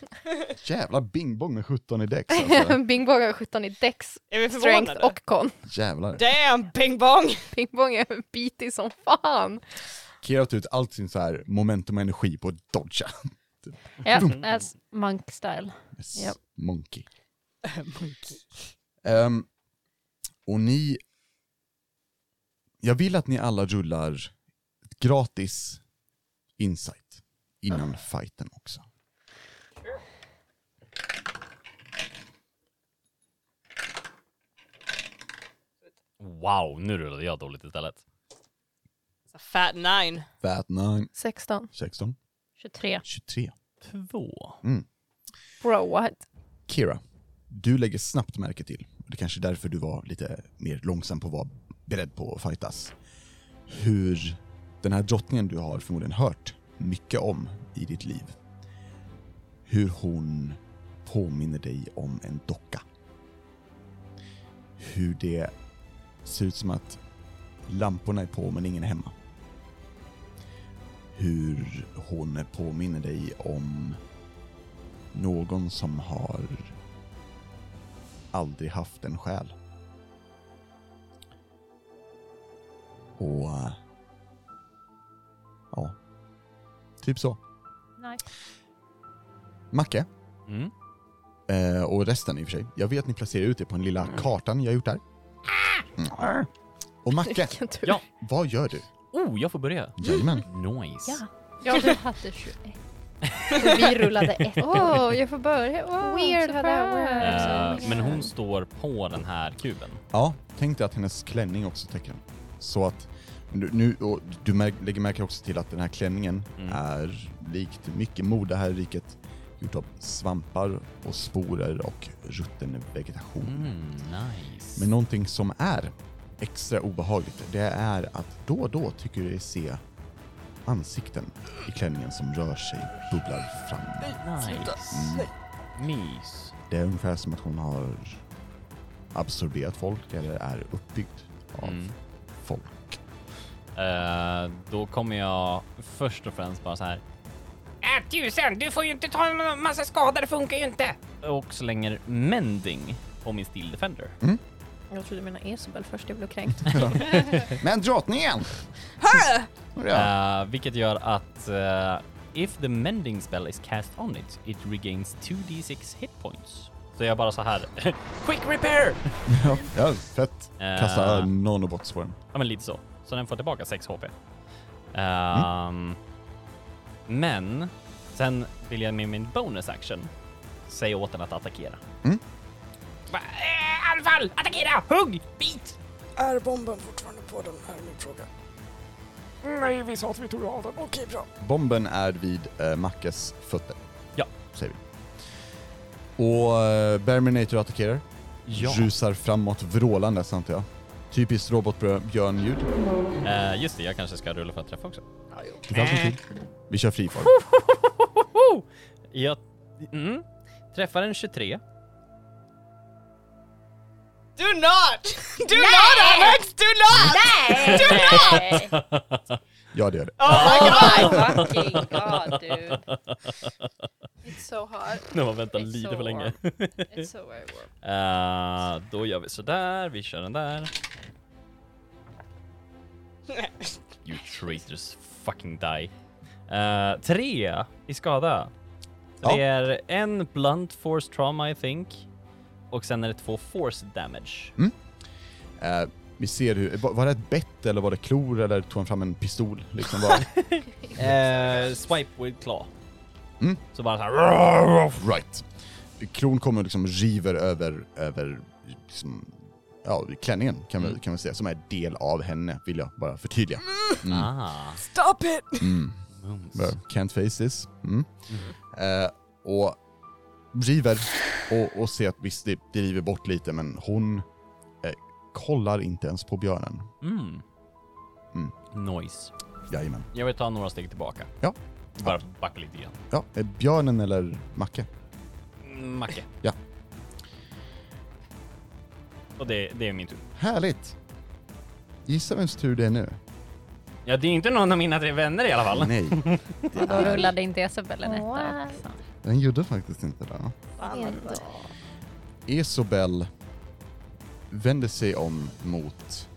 [SPEAKER 5] Jävla bingbong med 17 i däck alltså.
[SPEAKER 2] Bingbong har 17 i dex,
[SPEAKER 3] Är vi
[SPEAKER 2] strength
[SPEAKER 3] förvånade?
[SPEAKER 2] och kon.
[SPEAKER 5] Jävlar.
[SPEAKER 3] Damn, ping pong!
[SPEAKER 2] Bingbong är bitig som fan.
[SPEAKER 5] Kira har tagit ut allt sin så här momentum och energi på att dodga.
[SPEAKER 1] Ja, that's monk style.
[SPEAKER 5] Yes.
[SPEAKER 2] Japp.
[SPEAKER 5] Monkey. Ehm, och ni... Jag vill att ni alla rullar ett gratis insight innan fighten också.
[SPEAKER 4] Wow, nu rullade jag dåligt istället.
[SPEAKER 3] Fat nine.
[SPEAKER 5] Fat 9,
[SPEAKER 2] 16.
[SPEAKER 5] 16,
[SPEAKER 1] 23.
[SPEAKER 5] 23.
[SPEAKER 4] Två.
[SPEAKER 2] Bro what?
[SPEAKER 5] Kira, du lägger snabbt märke till, och det är kanske är därför du var lite mer långsam på att vara beredd på att fightas, hur den här drottningen du har förmodligen hört mycket om i ditt liv, hur hon påminner dig om en docka. Hur det ser ut som att lamporna är på men ingen är hemma. Hur hon påminner dig om någon som har aldrig haft en själ. Och... eh, Ja. Typ så.
[SPEAKER 1] Nice.
[SPEAKER 5] Macke,
[SPEAKER 4] Mm.
[SPEAKER 5] eh, och resten i och för sig. Jag vet att ni placerar ut det på den lilla kartan jag gjort där. Mm. Och Macke,
[SPEAKER 2] Vilken tur.
[SPEAKER 4] Ja.
[SPEAKER 5] vad gör du?
[SPEAKER 4] Oh, jag får börja.
[SPEAKER 5] Jajamän.
[SPEAKER 4] Nice.
[SPEAKER 1] Ja. Ja, du hade 21. Och vi rullade ett.
[SPEAKER 2] Åh, jag får börja. Åh,
[SPEAKER 1] Weird how that works.
[SPEAKER 4] Eh, men hon står på den här kuben.
[SPEAKER 5] Ja, tänk dig att hennes klänning också täcker den. Så att nu, nu och du mär, lägger märke också till att den här klänningen
[SPEAKER 4] Mm.
[SPEAKER 5] är likt mycket mode här i riket gjort av svampar och sporer och rutten vegetation.
[SPEAKER 4] Mm, nice.
[SPEAKER 5] Men någonting som är extra obehagligt, det är att då och då tycker du dig se ansikten i klänningen som rör sig, bubblar fram.
[SPEAKER 4] nice. Mys.
[SPEAKER 5] Det är ungefär som att hon har absorberat folk eller är uppbyggd av
[SPEAKER 4] Mm.
[SPEAKER 5] folk.
[SPEAKER 4] Eh, då kommer jag först och främst bara så här
[SPEAKER 7] Äh, tusen, du får ju inte ta en massa skada, det funkar ju inte.
[SPEAKER 4] och slänger mending på min steel defender.
[SPEAKER 2] Jag trodde mina Esobel först, jag blev kränkt.
[SPEAKER 5] Men drottningen! Hörru!
[SPEAKER 4] Eh, vilket gör att eh, if the mending spell is cast on it, it regains 2d6 hit points. Så jag bara så här quick repair!
[SPEAKER 5] Ja, fett. Kasta
[SPEAKER 4] Eh.
[SPEAKER 5] nanobots på den.
[SPEAKER 4] Ja, men lite så. Så den får tillbaka 6 HP. Ehm, Men sen vill jag med min bonus action säga åt den att attackera.
[SPEAKER 5] Mm.
[SPEAKER 7] Va? Eh, anfall! Attackera! Hugg! Bit!
[SPEAKER 9] Är bomben fortfarande på den? Är min fråga.
[SPEAKER 7] Nej, vi sa att vi tog av den.
[SPEAKER 9] Okej, bra.
[SPEAKER 5] Bomben är vid eh, Mackes fötter.
[SPEAKER 4] Ja.
[SPEAKER 5] Säger vi. Och eh, Berminator attackerar.
[SPEAKER 4] Ja.
[SPEAKER 5] Rusar framåt vrålandes antar jag. Typiskt robotbjörnljud.
[SPEAKER 4] Eh, just det, jag kanske ska rulla för att träffa också.
[SPEAKER 5] Det tar sin tid. Vi kör free fall.
[SPEAKER 4] Hoho! Jag mm, träffar en 23.
[SPEAKER 3] Do not! Do not Alex! Do not!
[SPEAKER 8] Nej!
[SPEAKER 5] Ja det gör det.
[SPEAKER 3] Oh my god!
[SPEAKER 2] Fucking god dude.
[SPEAKER 1] It's so hard.
[SPEAKER 4] Nu man väntar
[SPEAKER 1] It's
[SPEAKER 4] lite
[SPEAKER 1] so
[SPEAKER 4] för länge.
[SPEAKER 1] warm. It's so very warm.
[SPEAKER 4] Eh, då gör vi sådär, vi kör den där. You traitors fucking die. Eh, tre i skada. Så
[SPEAKER 5] Ja.
[SPEAKER 4] Det är en blunt force trauma I think. Och sen är det två force damage.
[SPEAKER 5] Mm. Eh, vi ser hur, var var det ett bett eller var det klor eller tog han fram en pistol? Liksom bara,
[SPEAKER 4] Eh, swipe with claw.
[SPEAKER 5] Mm.
[SPEAKER 4] Så bara såhär...
[SPEAKER 5] right. Klon kommer och liksom river över, över liksom, ja, klänningen kan, vi,
[SPEAKER 4] Mm.
[SPEAKER 5] kan vi säga, som är del av henne vill jag bara förtydliga. Mm.
[SPEAKER 4] Ah.
[SPEAKER 9] Stop it!
[SPEAKER 5] Mm.
[SPEAKER 4] Mums.
[SPEAKER 5] Bara, Can't face this. Mm. Eh, och river och, och ser att visst, det, det river bort lite men hon eh, kollar inte ens på björnen.
[SPEAKER 4] Mm.
[SPEAKER 5] Mm.
[SPEAKER 4] Noise.
[SPEAKER 5] Jajamän.
[SPEAKER 4] Jag vill ta några steg tillbaka.
[SPEAKER 5] Ja.
[SPEAKER 4] Bara backa lite igen.
[SPEAKER 5] Ja, eh, björnen eller Macke?
[SPEAKER 4] Macke.
[SPEAKER 5] Ja.
[SPEAKER 4] Och det, det är min tur.
[SPEAKER 5] Härligt! Gissa vems tur det är nu?
[SPEAKER 4] Ja, det är inte någon av mina tre vänner i alla fall.
[SPEAKER 5] Nej, det
[SPEAKER 2] Då
[SPEAKER 5] är,
[SPEAKER 2] rullade inte Isabel en etta också.
[SPEAKER 5] den gjorde faktiskt inte det. Isobel vänder sig om mot...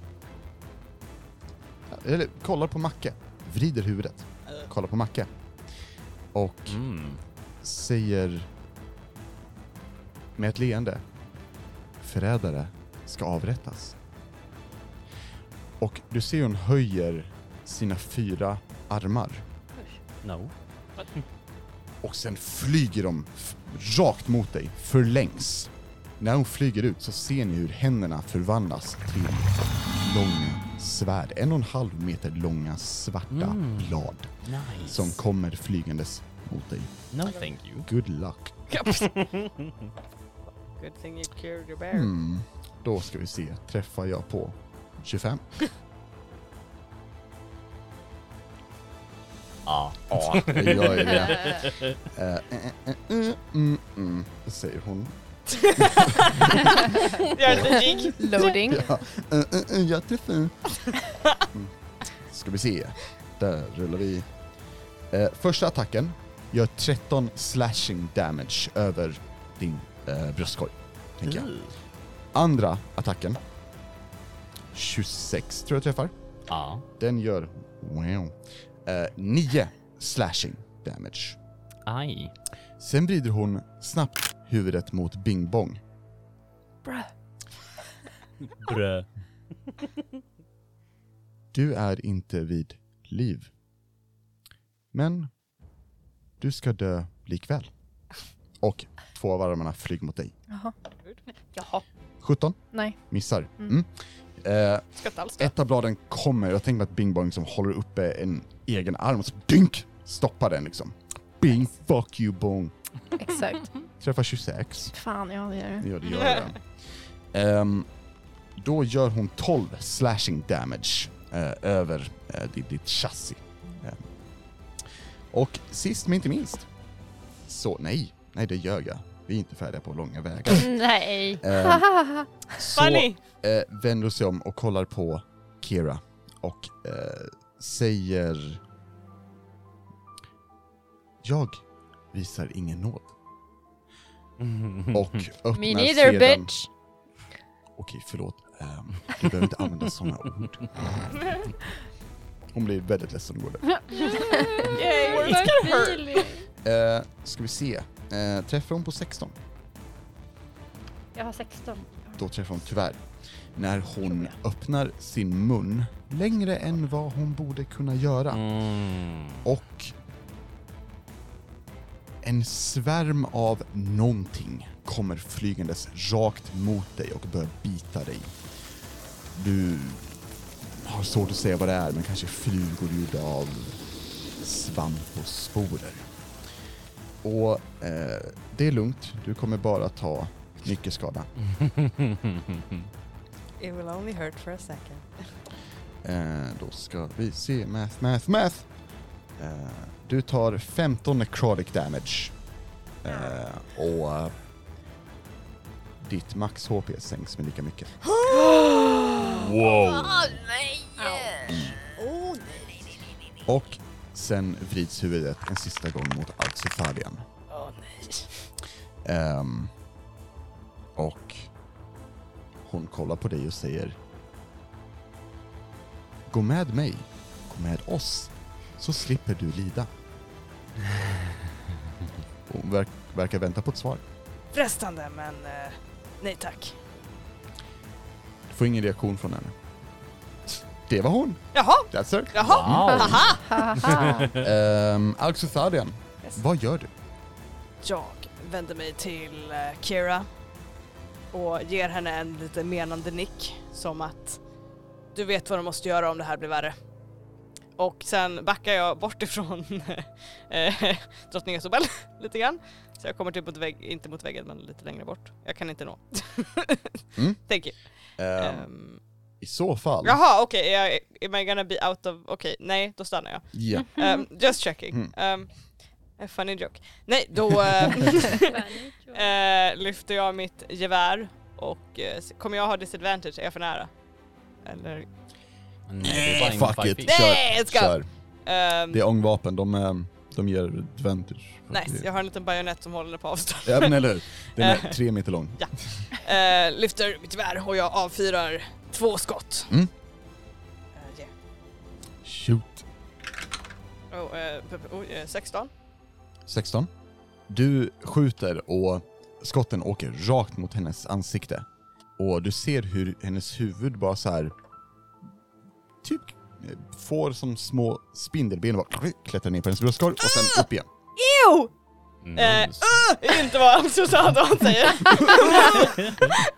[SPEAKER 5] Eller kollar på Macke. Vrider huvudet. Kollar på Macke. Och
[SPEAKER 4] Mm.
[SPEAKER 5] säger med ett leende. Förrädare ska avrättas. Och du ser hur hon höjer sina fyra armar.
[SPEAKER 4] No.
[SPEAKER 5] och sen flyger de f- rakt mot dig, förlängs. När hon flyger ut så ser ni hur händerna förvandlas till långa svärd, en och en halv meter långa svarta
[SPEAKER 4] Mm.
[SPEAKER 5] blad
[SPEAKER 4] Nice.
[SPEAKER 5] som kommer flygandes mot dig.
[SPEAKER 4] No thank you.
[SPEAKER 5] Good luck.
[SPEAKER 3] Good thing you cured your bear.
[SPEAKER 5] Mm. Då ska vi se, träffar jag på 25?
[SPEAKER 4] Ja.
[SPEAKER 5] Ja, jag gör ju det. Eh, eh, eh, eh, mm, mm, säger hon.
[SPEAKER 3] Gör lite jigg.
[SPEAKER 2] Loading.
[SPEAKER 5] Ja, eh, eh, eh, jag mm. träffar. Mm. Ska vi se. Där rullar vi. Eh, första attacken gör 13 slashing damage över din eh, bröstkorg. Tänker jag. Andra attacken. 26 tror jag träffar.
[SPEAKER 4] Ja.
[SPEAKER 5] Den gör... Wow. Eh, 9 slashing damage.
[SPEAKER 4] Aj.
[SPEAKER 5] Sen vrider hon snabbt huvudet mot Bing Bong.
[SPEAKER 4] Brö.
[SPEAKER 5] Du är inte vid liv. Men du ska dö likväl. Och två av armarna flyger mot dig.
[SPEAKER 1] Jaha.
[SPEAKER 5] 17,
[SPEAKER 2] Nej.
[SPEAKER 5] missar. Mm.
[SPEAKER 2] Mm.
[SPEAKER 5] Eh,
[SPEAKER 3] Ska inte alls dö.
[SPEAKER 5] ett av bladen kommer, jag tänker mig att Bing Bong liksom håller uppe en egen arm och så dynk stoppar den liksom. Bing fuck you Bong.
[SPEAKER 2] Exakt.
[SPEAKER 5] Träffar 26.
[SPEAKER 1] Fan, ja det gör det.
[SPEAKER 5] Ja det gör jag. Ehm, då gör hon 12 slashing damage eh, över eh, ditt, ditt chassi. Ehm. och sist men inte minst. Så nej, nej det gör jag. Vi är inte färdiga på långa vägar.
[SPEAKER 1] Nej.
[SPEAKER 5] Ehm, så
[SPEAKER 3] Funny!
[SPEAKER 5] eh, vänder sig om och kollar på Kira och eh, säger... Jag visar ingen nåd. Och öppnar
[SPEAKER 1] Mm-hmm. Me neither
[SPEAKER 5] sedan...
[SPEAKER 1] bitch.
[SPEAKER 5] Okej, förlåt. Ehm, du behöver inte använda sådana ord. Hon blir väldigt ledsen och går där.
[SPEAKER 3] Yay, it's gonna hurt.
[SPEAKER 5] Eh, ska vi se. Eh, träffar hon på 16?
[SPEAKER 1] Jag har 16.
[SPEAKER 5] Då träffar hon tyvärr. När hon öppnar sin mun längre än vad hon borde kunna göra.
[SPEAKER 4] Mm.
[SPEAKER 5] Och En svärm av någonting kommer flygandes rakt mot dig och börjar bita dig. Du har svårt att säga vad det är, men kanske flugor gjorda av svamp och sporer. Och eh, det är lugnt, du kommer bara ta mycket skada.
[SPEAKER 3] It will only hurt for a second.
[SPEAKER 5] Eh, då ska vi se, math, math, math! Eh, du tar 15 necrotic damage. Eh, och eh, ditt max HP sänks med lika mycket.
[SPEAKER 4] Wow!
[SPEAKER 8] Oh, nej.
[SPEAKER 5] Och sen vrids huvudet en sista gång mot Alcifalian. Åh nej. Ehm, och hon kollar på dig och säger Gå med mig, gå med oss, så slipper du lida. Hon verk, verkar vänta på ett svar.
[SPEAKER 9] Frestande, men eh, nej tack.
[SPEAKER 5] Du får ingen reaktion från henne. Det var hon,
[SPEAKER 3] Jaha,
[SPEAKER 5] that's her.
[SPEAKER 3] jaha.
[SPEAKER 4] wow.
[SPEAKER 2] Haha.
[SPEAKER 5] Um, Alcifalian,
[SPEAKER 9] Yes.
[SPEAKER 5] vad gör du?
[SPEAKER 9] Jag vänder mig till eh, Kira och ger henne en lite menande nick som att du vet vad du måste göra om det här blir värre.
[SPEAKER 3] Och sen backar jag bort ifrån eh, drottning Isobel lite grann. Så jag kommer typ mot vägg, inte mot väggen men lite längre bort. Jag kan inte nå.
[SPEAKER 5] Mm.
[SPEAKER 3] Thank you.
[SPEAKER 5] Ehm,
[SPEAKER 3] Ehm,
[SPEAKER 5] I så fall...
[SPEAKER 3] Jaha okej, är jag- am I gonna be out of... Okej, nej då stannar jag.
[SPEAKER 5] Ja.
[SPEAKER 3] Ehm, just checking.
[SPEAKER 5] Mm.
[SPEAKER 3] Ehm, a funny joke. Nej, då eh, eh, lyfter jag mitt gevär och eh, s- kommer jag ha disadvantage? Är jag för nära? Eller?
[SPEAKER 4] Nej, det är bara
[SPEAKER 5] Fuck
[SPEAKER 4] inom
[SPEAKER 5] it,
[SPEAKER 4] five feet.
[SPEAKER 5] kör,
[SPEAKER 3] Nej, let's go.
[SPEAKER 5] kör.
[SPEAKER 3] ehm,
[SPEAKER 5] Det är ångvapen, de, ehm, de ger advantage.
[SPEAKER 3] nice, jag har en liten bajonett som håller på avstånd.
[SPEAKER 5] Ja men eller hur? Den är tre meter lång.
[SPEAKER 3] Eh, lyfter mitt gevär och jag avfyrar två skott.
[SPEAKER 5] Mm.
[SPEAKER 3] Eh, yeah.
[SPEAKER 5] Shoot.
[SPEAKER 3] oh, eh, p- p- oh, eh, 16.
[SPEAKER 5] 16. Du skjuter och skotten åker rakt mot hennes ansikte. Och du ser hur hennes huvud bara så här typ eh, får som små spindelben och bara klättrar ner på hennes bröstkorg och sen upp igen.
[SPEAKER 3] Ew! Eh,
[SPEAKER 4] Nice.
[SPEAKER 3] uh, det är inte vad Susanne säger.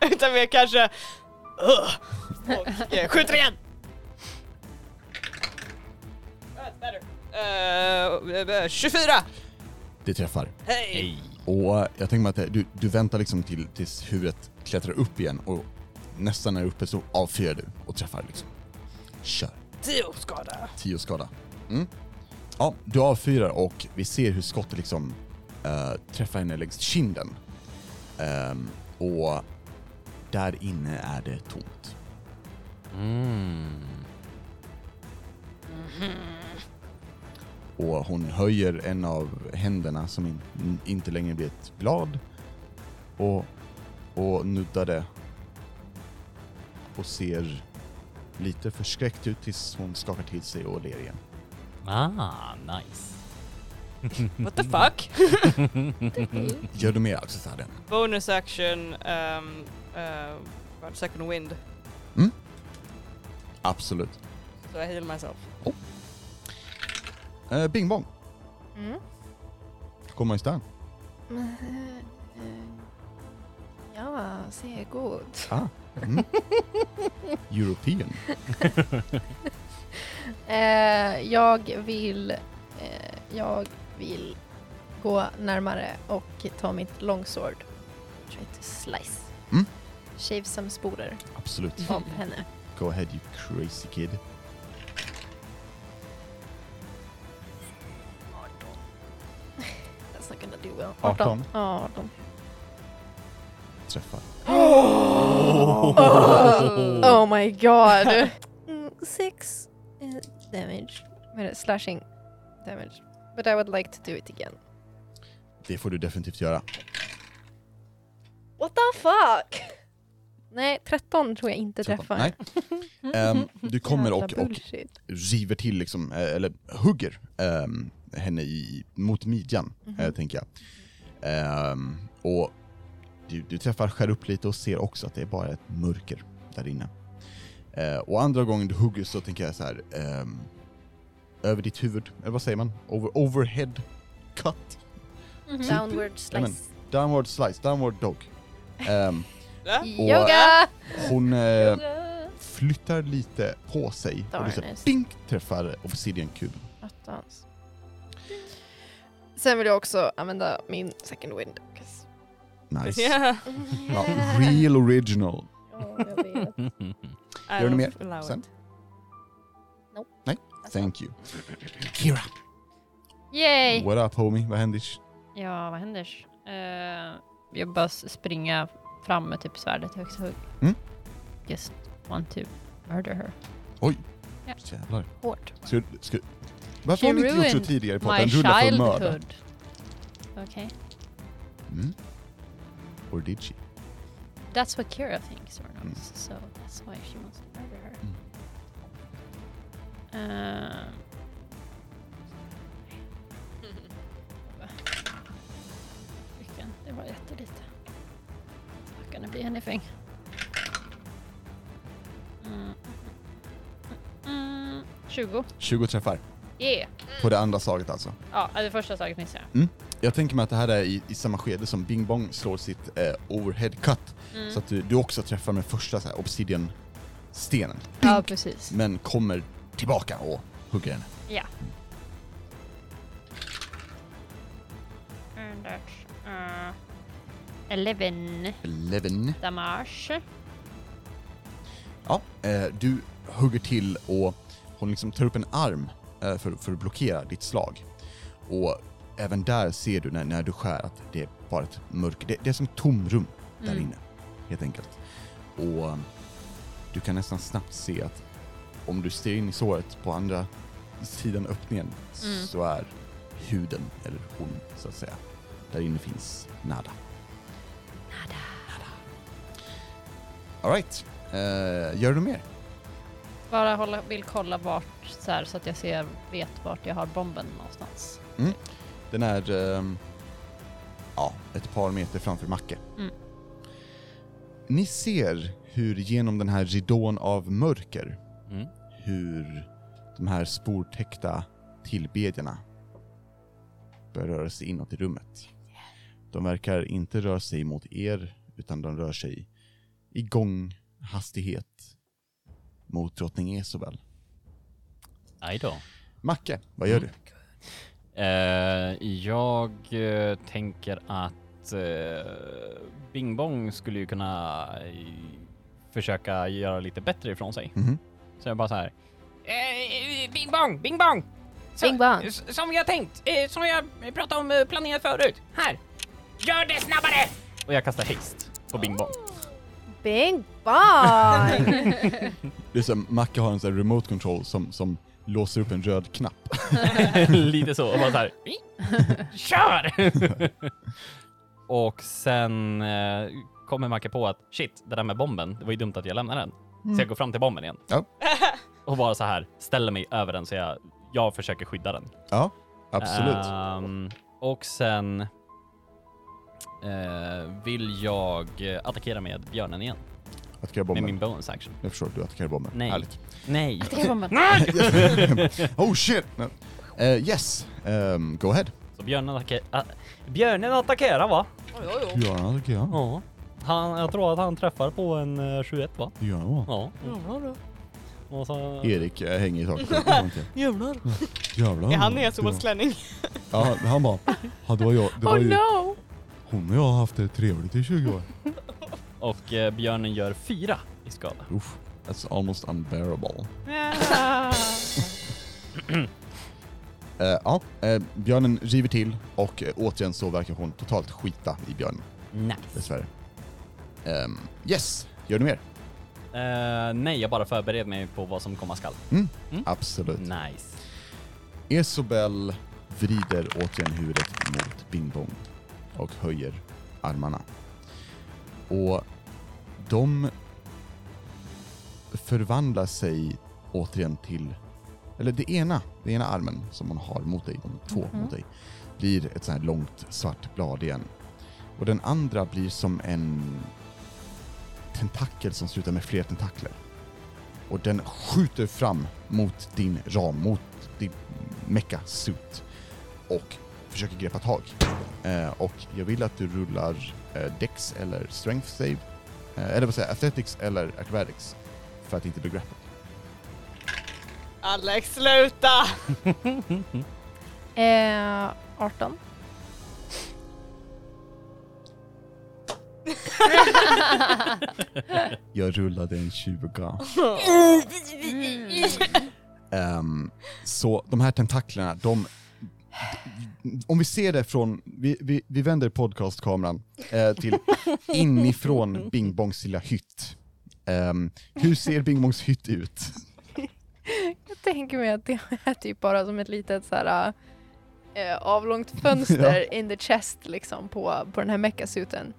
[SPEAKER 3] Utan mer kanske... Uh, och eh, skjuter igen! That's better. Eh, eh, 24!
[SPEAKER 5] Det träffar.
[SPEAKER 3] Hej!
[SPEAKER 4] Hej.
[SPEAKER 5] Och jag tänker mig att det- du, du väntar liksom till, tills huvudet klättrar upp igen och nästan är uppe så avfyrar du och träffar liksom. Kör.
[SPEAKER 9] 10 skada.
[SPEAKER 5] 10 skada. Mm. Ja, du avfyrar och vi ser hur skottet liksom eh, träffar henne längs kinden. Ehm, och där inne är det tomt.
[SPEAKER 4] Mm.
[SPEAKER 5] Och hon höjer en av händerna som in, n- inte längre blir ett blad och, och nuddar det. Och ser lite förskräckt ut tills hon skakar till sig och ler igen.
[SPEAKER 4] Ah, nice.
[SPEAKER 5] Mm.
[SPEAKER 3] What the fuck?
[SPEAKER 5] Gör du mer Axelfärden?
[SPEAKER 3] Bonus action, um, uh, vad, second wind.
[SPEAKER 5] Absolut.
[SPEAKER 3] So I heal myself.
[SPEAKER 5] Eh, bing bong.
[SPEAKER 2] Mm.
[SPEAKER 5] Kommer i stan.
[SPEAKER 2] Ja, se god.
[SPEAKER 5] Ah. Mm. European.
[SPEAKER 2] Eh, jag vill... Eh, jag vill gå närmare och ta mitt longsword. Try to slice.
[SPEAKER 5] Mm.
[SPEAKER 2] Shave some sporer
[SPEAKER 5] Absolut.
[SPEAKER 2] av henne.
[SPEAKER 5] Go ahead you crazy kid.
[SPEAKER 2] 18. That's not gonna do well.
[SPEAKER 5] 18.
[SPEAKER 2] Ja, 18.
[SPEAKER 5] Träffar.
[SPEAKER 2] Oh my god. Mm, Six eh, damage. Vad är det? Slashing damage. But I would like to do it again.
[SPEAKER 5] Det får du definitivt göra.
[SPEAKER 2] What the fuck? Nej, 13 tror jag inte träffar.
[SPEAKER 5] Nej. Ehm, du kommer och,
[SPEAKER 2] Jävla
[SPEAKER 5] och
[SPEAKER 2] bullshit.
[SPEAKER 5] river till, liksom, eh, eller hugger ehm, henne i, mot midjan, eh, tänker jag. Ehm, och du, du träffar, skär upp lite och ser också att det är bara ett mörker där inne. Eh, och andra gången du hugger så tänker jag så här. ehm, över ditt huvud, eller vad säger man? Over, overhead cut.
[SPEAKER 8] Downward
[SPEAKER 5] Nej, men,
[SPEAKER 8] slice.
[SPEAKER 5] downward slice, downward dog. Ehm,
[SPEAKER 2] Yoga!
[SPEAKER 5] hon eh, flyttar lite på sig och du så
[SPEAKER 2] Darkness.
[SPEAKER 5] dink träffar obsidiankuben.
[SPEAKER 2] Attans. Sen vill jag också använda min second wind. 'cause-
[SPEAKER 5] Nice.
[SPEAKER 3] Yeah.
[SPEAKER 5] Ja, real original.
[SPEAKER 8] Ja, jag vet.
[SPEAKER 5] Gör ni mer
[SPEAKER 3] I'll allow it.
[SPEAKER 5] sen?
[SPEAKER 8] Nope.
[SPEAKER 5] Nej, thank you. Kira,
[SPEAKER 1] Yay!
[SPEAKER 5] what up homie? Vad händer?
[SPEAKER 1] Ja, vad händer? Eh, jag bara s- springa fram med typ svärdet i högsta hugg.
[SPEAKER 5] Mm.
[SPEAKER 1] Just want to murder her.
[SPEAKER 5] Jävlar.
[SPEAKER 1] Hårt.
[SPEAKER 5] Ska, ska, varför har
[SPEAKER 1] She
[SPEAKER 5] ni inte gjort så
[SPEAKER 1] ruined
[SPEAKER 5] tidigare på
[SPEAKER 1] My
[SPEAKER 5] den rullar för mörda?
[SPEAKER 1] childhood. Okej.
[SPEAKER 5] Mm. Or did she?
[SPEAKER 1] That's what Kira thinks or knows,
[SPEAKER 5] Mm.
[SPEAKER 1] so that's why she wants to murder her.
[SPEAKER 5] Mm.
[SPEAKER 1] Um, Vilken? Det var jättelite. Not gonna be anything. Mm. Mm. 20.
[SPEAKER 5] 20 träffar.
[SPEAKER 1] Yeah!
[SPEAKER 5] På det andra slaget alltså.
[SPEAKER 1] Ja, det första slaget missade
[SPEAKER 5] Jag tänker mig att det här är i, i samma skede som Bing Bong slår sitt eh, overhead cut.
[SPEAKER 1] jag. Mm.
[SPEAKER 5] Så att du, du också träffar med första så här, obsidian-stenen.
[SPEAKER 1] Ja, precis.
[SPEAKER 5] Men kommer tillbaka och hugger henne.
[SPEAKER 1] And that's, uh, 11
[SPEAKER 5] Eleven.
[SPEAKER 1] damage.
[SPEAKER 5] Ja, eh, du hugger till och hon liksom tar upp en arm eh, för, för att blockera ditt slag. Och även där ser du när, när du skär att det är bara ett mörker. Det, det är som ett tomrum där
[SPEAKER 1] Mm.
[SPEAKER 5] inne, helt enkelt. Och eh, du kan nästan snabbt se att om du ser in i såret på andra sidan öppningen
[SPEAKER 1] Mm.
[SPEAKER 5] så är huden, eller hon så att säga, där inne finns nada. Nada. Alright, eh, gör du mer?
[SPEAKER 1] Bara hålla, vill kolla vart så, här, så att jag ser, vet vart jag har bomben någonstans.
[SPEAKER 5] Den är ehm, ja, ett par meter framför Macke.
[SPEAKER 1] Mm.
[SPEAKER 5] Ni ser hur genom den här ridån av mörker,
[SPEAKER 4] Mm.
[SPEAKER 5] hur de här sportäckta tillbedjarna börjar röra sig inåt i rummet. De verkar inte röra sig mot er, utan de rör sig i gånghastighet mot drottning Esobel.
[SPEAKER 4] Aj då.
[SPEAKER 5] Macke, vad gör du?
[SPEAKER 4] Eh, jag eh, tänker att eh, Bing Bong skulle ju kunna eh, försöka göra lite bättre ifrån sig.
[SPEAKER 5] Mhm.
[SPEAKER 4] Så jag bara så här.
[SPEAKER 7] Eh, bing bong, bing bong! Så-
[SPEAKER 2] Bing bong.
[SPEAKER 7] s- Som jag tänkt, eh, som jag pratade om eh, planerat förut. Här! Gör det snabbare!
[SPEAKER 4] Och jag kastar haste på Bing Bong.
[SPEAKER 2] Bing bong!
[SPEAKER 5] Det är som Macke har en sån här remote control som, som låser upp en röd knapp.
[SPEAKER 4] Lite så. Och bara så här. Kör! och sen eh, kommer Macke på att shit, det där med bomben, det var ju dumt att jag lämnade den. Så jag går fram till bomben igen.
[SPEAKER 5] Mm. Ja.
[SPEAKER 4] Och bara så här ställer mig över den så jag, jag försöker skydda den.
[SPEAKER 5] Ja, absolut.
[SPEAKER 4] Ehm, och sen eh, vill jag attackera med björnen igen.
[SPEAKER 5] attackera
[SPEAKER 4] Med
[SPEAKER 5] bomben.
[SPEAKER 4] min bonus action.
[SPEAKER 5] Jag förstår, du attackerar bomben.
[SPEAKER 4] Nej.
[SPEAKER 5] Härligt.
[SPEAKER 4] Nej.
[SPEAKER 1] Attackera bomben.
[SPEAKER 5] Oh shit! No. Eh, yes, Ehm, go ahead.
[SPEAKER 4] Så björnen attackerar... ah, björnen attackerar va?
[SPEAKER 3] Oj, oj, oj.
[SPEAKER 5] Ja, attackerar han.
[SPEAKER 4] Ja. Han, jag tror att han träffar på en eh, 21 va?
[SPEAKER 5] Ja, ja.
[SPEAKER 4] Ja.
[SPEAKER 5] Mm.
[SPEAKER 4] Och så...
[SPEAKER 5] Erik eh, hänger i taket. Jag tror inte.
[SPEAKER 3] Jävlar.
[SPEAKER 5] Jävlar.
[SPEAKER 3] Är han i
[SPEAKER 5] Mm.
[SPEAKER 3] Esobels klänning?
[SPEAKER 5] Ja, han bara, ja, det var jag. Det var
[SPEAKER 2] oh
[SPEAKER 5] ju,
[SPEAKER 2] no!
[SPEAKER 5] hon och jag har haft det trevligt i 20 år.
[SPEAKER 4] Och eh, björnen gör fyra i skada.
[SPEAKER 5] Uff, that's almost unbearable. Eh, ja, eh, björnen river till och eh, återigen så verkar hon totalt skita i björnen,
[SPEAKER 4] Nice.
[SPEAKER 5] dessvärre. Ehm, yes, gör du mer?
[SPEAKER 4] Eh, nej, jag bara förbereder mig på vad som komma skall.
[SPEAKER 5] Absolut.
[SPEAKER 4] Nice.
[SPEAKER 5] Esobel vrider återigen huvudet mot Bing Bong och höjer armarna. Och de förvandlar sig återigen till, eller det ena, den ena armen som man har mot dig, de två mot dig, blir ett sånt här långt svart blad igen. Och den andra blir som en tentakel som slutar med fler tentakler. Och den skjuter fram mot din ram, mot din mecka suit och försöker greppa tag. Eh, och jag vill att du rullar eh, Dex eller Strength Save, eh, eller vad säger jag, Athletics eller Acrobatics för att inte bli grappled.
[SPEAKER 10] Alex sluta!
[SPEAKER 2] Eh, 18.
[SPEAKER 5] Jag rullade en 20. Ehm, så de här tentaklerna, de... Om vi ser det från... Vi, vi, vi vänder podcastkameran eh, till inifrån Bing Bongs lilla hytt. Ehm, hur ser Bing Bongs hytt ut?
[SPEAKER 2] Jag tänker mig att det är typ bara som ett litet så här, eh, avlångt fönster in the chest liksom på, på den här meckasuten.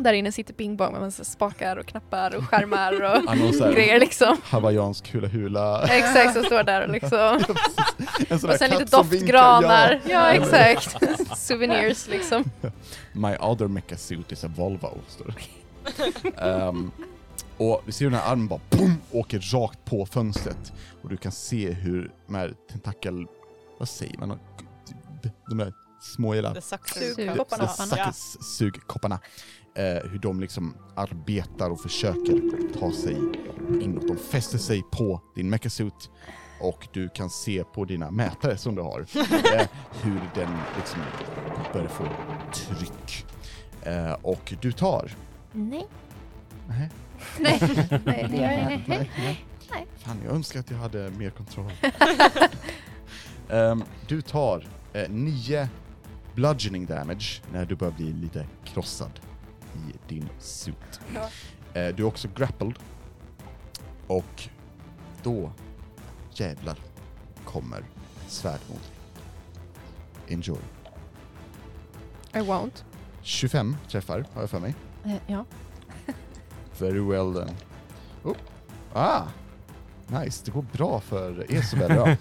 [SPEAKER 2] Där inne sitter Bing Bong med massa spakar och knappar och skärmar och
[SPEAKER 5] Annonser.
[SPEAKER 2] grejer liksom.
[SPEAKER 5] Hawaiiansk hula-hula.
[SPEAKER 2] Exakt, som står där och liksom.
[SPEAKER 5] En sån
[SPEAKER 2] Och
[SPEAKER 5] där
[SPEAKER 2] sen lite
[SPEAKER 5] katt som vinkar,
[SPEAKER 2] doftgranar. Ja,
[SPEAKER 5] Nej, men-
[SPEAKER 2] exakt. Souvenirs liksom.
[SPEAKER 5] My other mecha suit is a Volvo, står det. Ehm, och vi ser hur den här armen bara boom, åker rakt på fönstret. Och du kan se hur de här tentakel... Vad säger man? De där små jävla...
[SPEAKER 10] Det sucks.
[SPEAKER 2] Sugkopparna.
[SPEAKER 5] the suckers- Sugkopparna. Eh, hur de liksom arbetar och försöker ta sig inåt. De fäster sig på din mechasuit och du kan se på dina mätare som du har eh, hur den liksom börjar få tryck. Eh, och du tar...
[SPEAKER 2] Nej.
[SPEAKER 5] Nej.
[SPEAKER 2] Nej, nej, det gör jag inte.
[SPEAKER 5] Fan, jag önskar att jag hade mer kontroll. Ehm, du tar eh, nio bludgeoning damage när du börjar bli lite krossad i din suit. Eh, du är också grappled. Och då, jävlar, kommer svärd mot dig. Enjoy.
[SPEAKER 2] I won't.
[SPEAKER 5] 25 träffar, har jag för mig.
[SPEAKER 2] Eh, ja.
[SPEAKER 5] Very well then. Oh. Ah! Nice, det går bra för Esobel idag.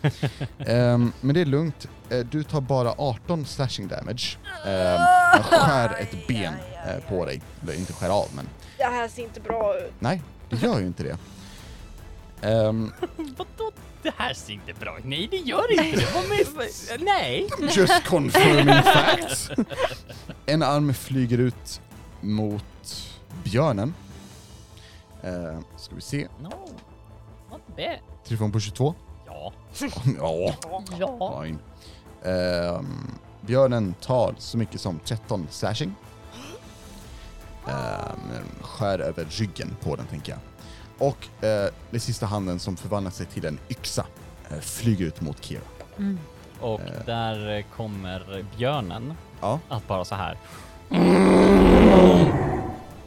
[SPEAKER 5] Ehm, men det är lugnt. Eh, du tar bara 18 slashing damage. Ehm,
[SPEAKER 11] Ah.
[SPEAKER 5] han skär ett ben eh, på dig. Eller inte skär av, men
[SPEAKER 11] Det här ser inte bra ut.
[SPEAKER 5] nej, det gör ju inte det. Ehm,
[SPEAKER 4] Vadå? Det här ser inte bra ut. Nej, det gör inte det. Vad men- Nej.
[SPEAKER 5] Just confirming facts. En arm flyger ut mot björnen. Ehm, ska vi se.
[SPEAKER 4] No. Not bad.
[SPEAKER 5] Tryffon på 22.
[SPEAKER 4] Ja.
[SPEAKER 5] ja.
[SPEAKER 1] Ja.
[SPEAKER 5] Fine. Ehm, björnen tar så mycket som 13 slashing. Ehm, skär över ryggen på den tänker jag. Och eh, den sista handen som förvandlar sig till en yxa eh, flyger ut mot Kira.
[SPEAKER 4] Och
[SPEAKER 5] Eh.
[SPEAKER 4] där kommer björnen
[SPEAKER 5] Ja.
[SPEAKER 4] att bara så här. Mm.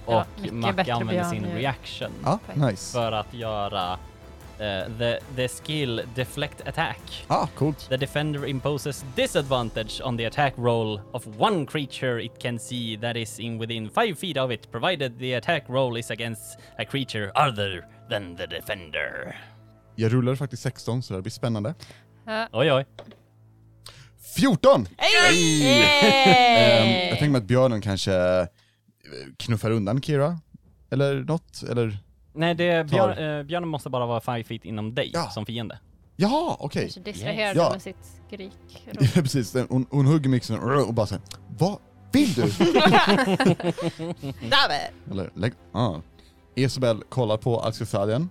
[SPEAKER 1] Ja,
[SPEAKER 4] Och
[SPEAKER 1] mycket
[SPEAKER 4] Macke
[SPEAKER 1] bättre
[SPEAKER 4] använder sin
[SPEAKER 1] björn ju.
[SPEAKER 4] reaction
[SPEAKER 5] Ja, nice.
[SPEAKER 4] för att göra eh, the, the skill deflect attack.
[SPEAKER 5] Ah, coolt.
[SPEAKER 4] The defender imposes disadvantage on the attack roll of one creature it can see that is in within 5 feet of it, provided the attack roll is against a creature other than the defender.
[SPEAKER 5] Jag rullar faktiskt 16 så det här blir spännande.
[SPEAKER 4] Oj, oj.
[SPEAKER 5] 14! Ehm, jag
[SPEAKER 1] Yay!
[SPEAKER 5] tänker mig att björnen kanske eh, knuffar undan Kira. Eller något, eller...
[SPEAKER 4] Nej, det är
[SPEAKER 5] Tar.
[SPEAKER 4] björn, eh, björnen måste bara vara 5 feet inom dig
[SPEAKER 5] Ja.
[SPEAKER 4] som fiende.
[SPEAKER 5] Jaha, okej.
[SPEAKER 1] Kanske distraherar
[SPEAKER 5] Yes.
[SPEAKER 1] dem
[SPEAKER 5] Ja.
[SPEAKER 1] med sitt skrik.
[SPEAKER 5] Ja, precis. Den- Hon, hon hugger mixen och bara såhär Vad vill du? Eller lägg... Ah. Isabel kollar på Alcazadian